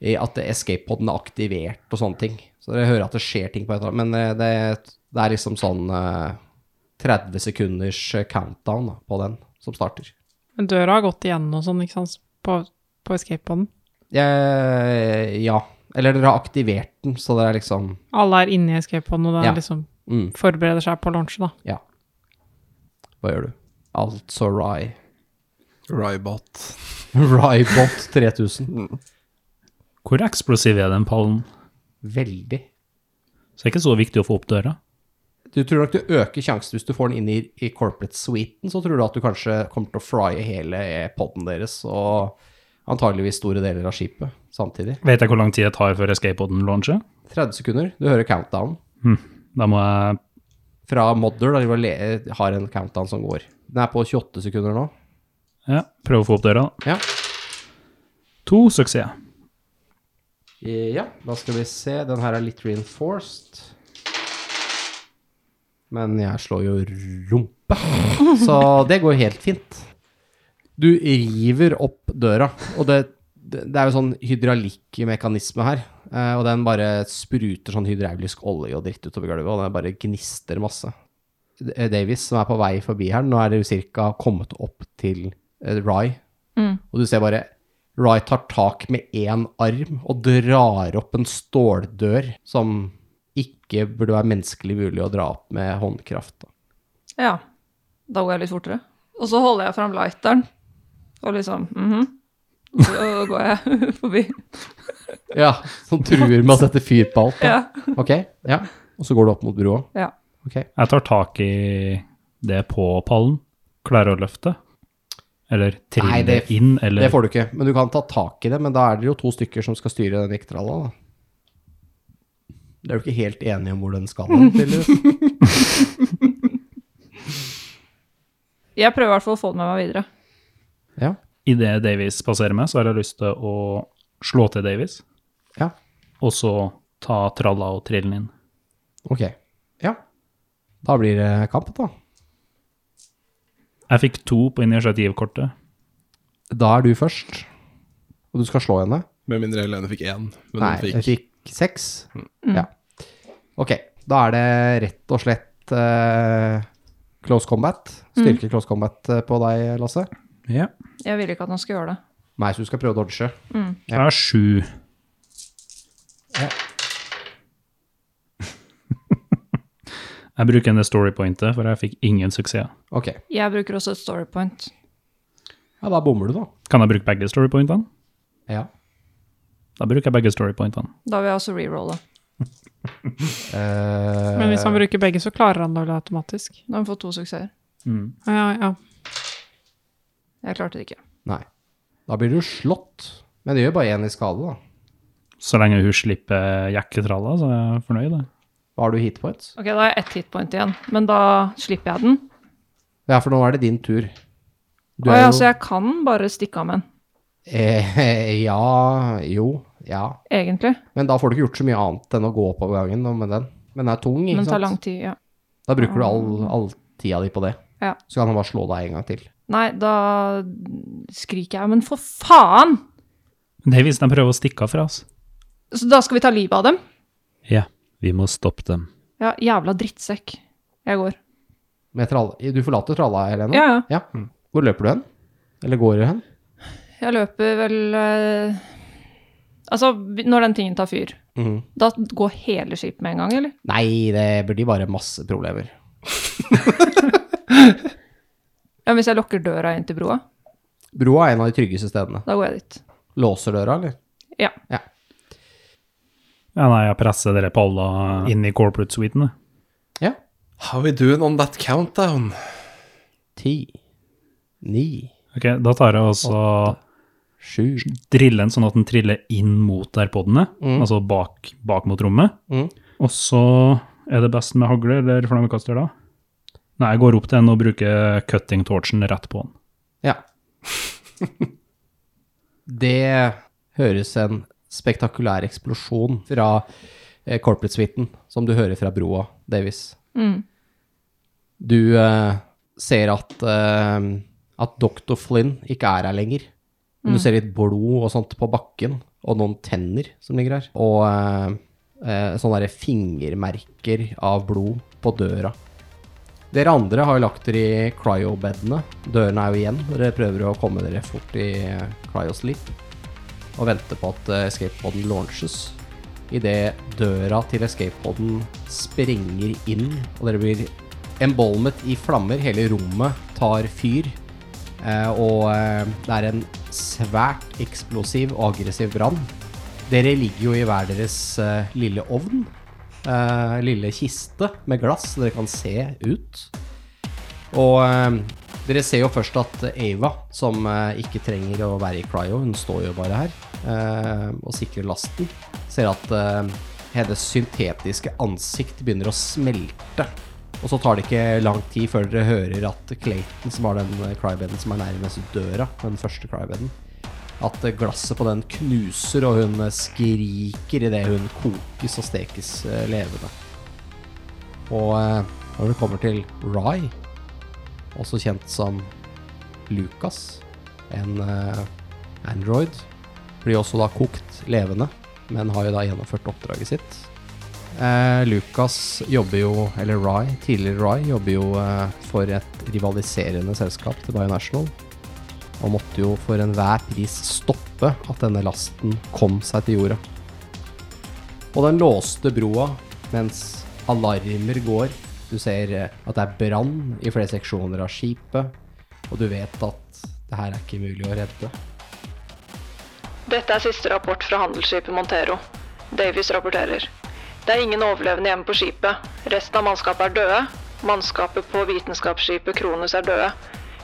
B: eh, at escape-poden er aktivert og sånne ting. Så dere hører at det skjer ting på et eller annet, men eh, det, det er liksom sånn eh, 30 sekunders eh, countdown da, på den som starter.
C: Men døra har gått igjen og sånn, ikke sant, på, på escape-poden.
B: Eh, ja. Eller dere har aktivert den, så det er liksom
C: Alle er inne i escape-poden, og den
B: Ja.
C: liksom
B: mm.
C: forbereder seg på lunsj, da.
B: Hva gjør du? Altså Rye.
D: Rybot.
B: Rybot 3000.
E: Hvor eksplosiv er den pallen?
B: Veldig.
E: Så det er ikke så viktig å få opp døra.
B: Du tror nok du øker sjansen hvis du får den inn i, i corporate suiten, så tror du at du kanskje kommer til å frye hele poden deres og antageligvis store deler av skipet samtidig.
E: Vet jeg hvor lang tid det tar før escape-poden launcher?
B: 30 sekunder. Du hører countdown.
E: Da må jeg
B: Fra Modder, da de var le- har en countdown som går. Den er på 28 sekunder nå.
E: ja, prøve å få opp døra. da.
B: Ja.
E: To suksess.
B: Eh, Ja, da skal vi se. Den her er litt reinforced. Men jeg slår jo rumpe, så det går helt fint. Du river opp døra, og det, det det er jo sånn hydraulikkmekanisme her. eh, Og den bare spruter sånn hydraulisk olje og dritt utover gulvet, og den bare gnister masse. Eh, Davis, som er på vei forbi her, nå er det jo cirka kommet opp til eh, Rye, og du ser bare Rai tar tak med én arm og drar opp en ståldør som ikke burde være menneskelig mulig å dra opp med håndkraft. Da.
F: Ja. Da går jeg litt fortere. Og så holder jeg fram lighteren, og liksom mhm. Og Så går jeg forbi.
B: Ja, Som truer med å sette fyr på alt. Da.
F: Ja.
B: Ok, ja. Og så går du opp mot broa.
F: ja.
B: Ok.
E: Jeg tar tak i det på pallen. Klarer å løfte. Eller trille
B: Nei, det-
E: inn,
B: Det
E: eller
B: får du ikke, men du kan ta tak i det. Men da er det jo to stykker som skal styre den vektralla, da. Det er jo ikke helt enige om hvor den skal hen, tydeligvis.
F: Jeg prøver i hvert fall å få det med meg videre.
B: Ja.
E: Idet Davies passerer meg, så har jeg lyst til å slå til Davies.
B: Ja.
E: Og så ta tralla og trille den inn.
B: Ok. Ja. Da blir det kamp, da.
E: Jeg fikk to på initiativkortet.
B: Da er du først, og du skal slå henne.
D: Med mindre Helene fikk én. Men
B: Nei,
D: hun
B: jeg
D: fikk Mm.
B: fikk seks.
F: Mm.
B: Ja. Ok, da er det rett og slett eh, close combat.
F: Mm.
B: Styrke close combat eh, på deg, Lasse.
E: Ja.
F: Jeg ville ikke at han skulle gjøre det.
B: Nei, så du skal prøve å dodge.
E: Jeg har sju. jeg bruker det storypointet, for jeg fikk ingen suksess.
B: Ok,
F: Jeg bruker også et storypoint.
B: ja, da bommer du, da.
E: Kan jeg bruke begge storypointene?
B: Ja.
E: Da bruker jeg begge storypointene.
F: Da vil jeg også rerolle.
B: Eh,
C: Men hvis han bruker begge, så klarer han det vel automatisk.
F: Da har vi fått to suksesser.
J: Mm.
C: Ja, ja.
F: Jeg klarte det ikke.
B: Nei. Da blir du slått. Men det gjør bare én i skade, da.
E: Så lenge hun slipper jekketralla, så er jeg fornøyd. jeg.
B: Hva har du hit points?
F: Ok, da har jeg ett hitpoint igjen, men da slipper jeg den.
B: Ja, for nå er det din tur. Du
F: Å
B: er
F: ja,
B: jo-
F: så jeg kan bare stikke av med den,
B: Eh, ja, jo, ja.
F: egentlig.
B: Men da får du ikke gjort så mye annet enn å gå oppover gangen og med den. Men den er tung, ikke
F: Men det tar
B: sant?
F: lang tid, ja.
B: Da bruker du all, all tida di på det.
F: Ja.
B: Så kan han bare slå deg en gang til.
F: Nei, da skriker jeg, men for faen!
E: Men Det er hvis de prøver å stikke av fra oss.
F: Så da skal vi ta livet av dem?
J: Ja, vi må stoppe dem.
F: Ja, jævla drittsekk. Jeg går.
B: Med trall, du forlater tralla, Helene?
F: Ja, ja.
B: Hvor løper du hen? Eller går du hen?
F: Jeg løper vel eh, Altså, vi- når den tingen tar fyr,
B: Mhm.
F: Da går hele skipet med en gang, eller?
B: Nei, det blir bare masse problemer.
F: Ja, men Hvis jeg lukker døra inn til broa,
B: Broa er en av de tryggeste stedene.
F: da går jeg dit.
B: Låser døra, eller?
F: Ja.
E: Ja, nei, jeg presser dere på alle inn i corporate suiten. jeg.
B: Ja.
D: How we doing on that countdown?
B: Ti, ni,
E: Ok, Da tar jeg også
B: sju
E: drille den sånn at den triller inn mot der podene, altså bak, bak mot rommet.
B: Mm.
E: Og så er det best med hagle eller flammekaster da? Nei, jeg går opp til den og bruker cutting torchen rett på den.
B: Ja. det høres en spektakulær eksplosjon fra eh, corporate-suiten, som du hører fra broa, Davis.
F: Mm.
B: Du eh, ser at, eh, at Dr. Flynn ikke er her lenger. Men du ser litt blod og sånt på bakken, og noen tenner som ligger her. Og eh, eh, sånne der fingermerker av blod på døra. Dere andre har jo lagt dere i cryo-bedene. Dørene er jo igjen. Dere prøver å komme dere fort i eh, cryosleep og venter på at eh, escape-poden launches. Idet døra til escape-poden sprenger inn, og dere blir embalmet i flammer. Hele rommet tar fyr. eh, Og eh, det er en svært eksplosiv og aggressiv brann. Dere ligger jo i hver deres eh, lille ovn. eh, Lille kiste med glass dere kan se ut. Og eh, dere ser jo først at Ava, som eh, ikke trenger å være i cryo, hun står jo bare her eh, og sikrer lasten, ser at eh, hennes syntetiske ansikt begynner å smelte. Og så tar det ikke lang tid før dere hører at Clayton, som har den eh, crybeden som er nærmest døra, den første crybeden, at eh, glasset på den knuser, og hun eh, skriker idet hun kokes og stekes eh, levende. Og eh, når det kommer til Rye også kjent som Lucas, en eh, android. Blir også da kokt levende, men har jo da gjennomført oppdraget sitt. Eh, Lucas jobber jo, eller Rye, tidligere Rye, jobber jo eh, for et rivaliserende selskap til Bionational. Og måtte jo for enhver pris stoppe at denne lasten kom seg til jorda. Og den låste broa mens alarmer går. Du ser eh, at det er brann i flere seksjoner av skipet, og du vet at det her er ikke mulig å redde.
K: Dette er siste rapport fra handelsskipet Montero. Davies rapporterer. Det er ingen overlevende hjemme på skipet. Resten av mannskapet er døde. Mannskapet på vitenskapsskipet Kronos er døde.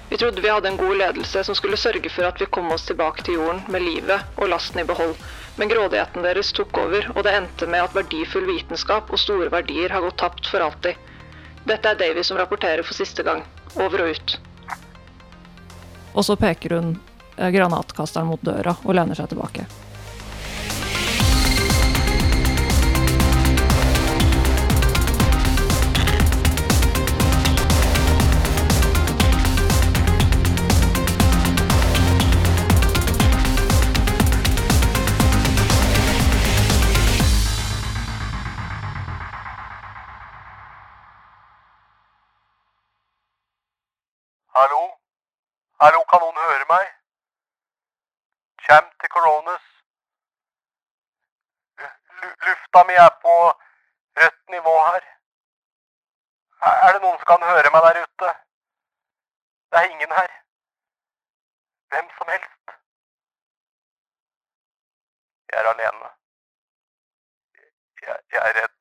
K: Vi trodde vi hadde en god ledelse som skulle sørge for at vi kom oss tilbake til jorden med livet og lasten i behold. Men grådigheten deres tok over, og det endte med at verdifull vitenskap og store verdier har gått tapt for alltid. Dette er Davies som rapporterer for siste gang. Over og ut.
F: Og så peker hun eh, granatkasteren mot døra og lener seg tilbake.
H: Hallo? Hallo, kan noen høre meg? Kjem til Coronas. Lu- Lufta mi er på rødt nivå her. Er er det noen som kan høre meg der ute? Det er ingen her. Hvem som helst. Jeg er alene. Jeg, jeg er redd.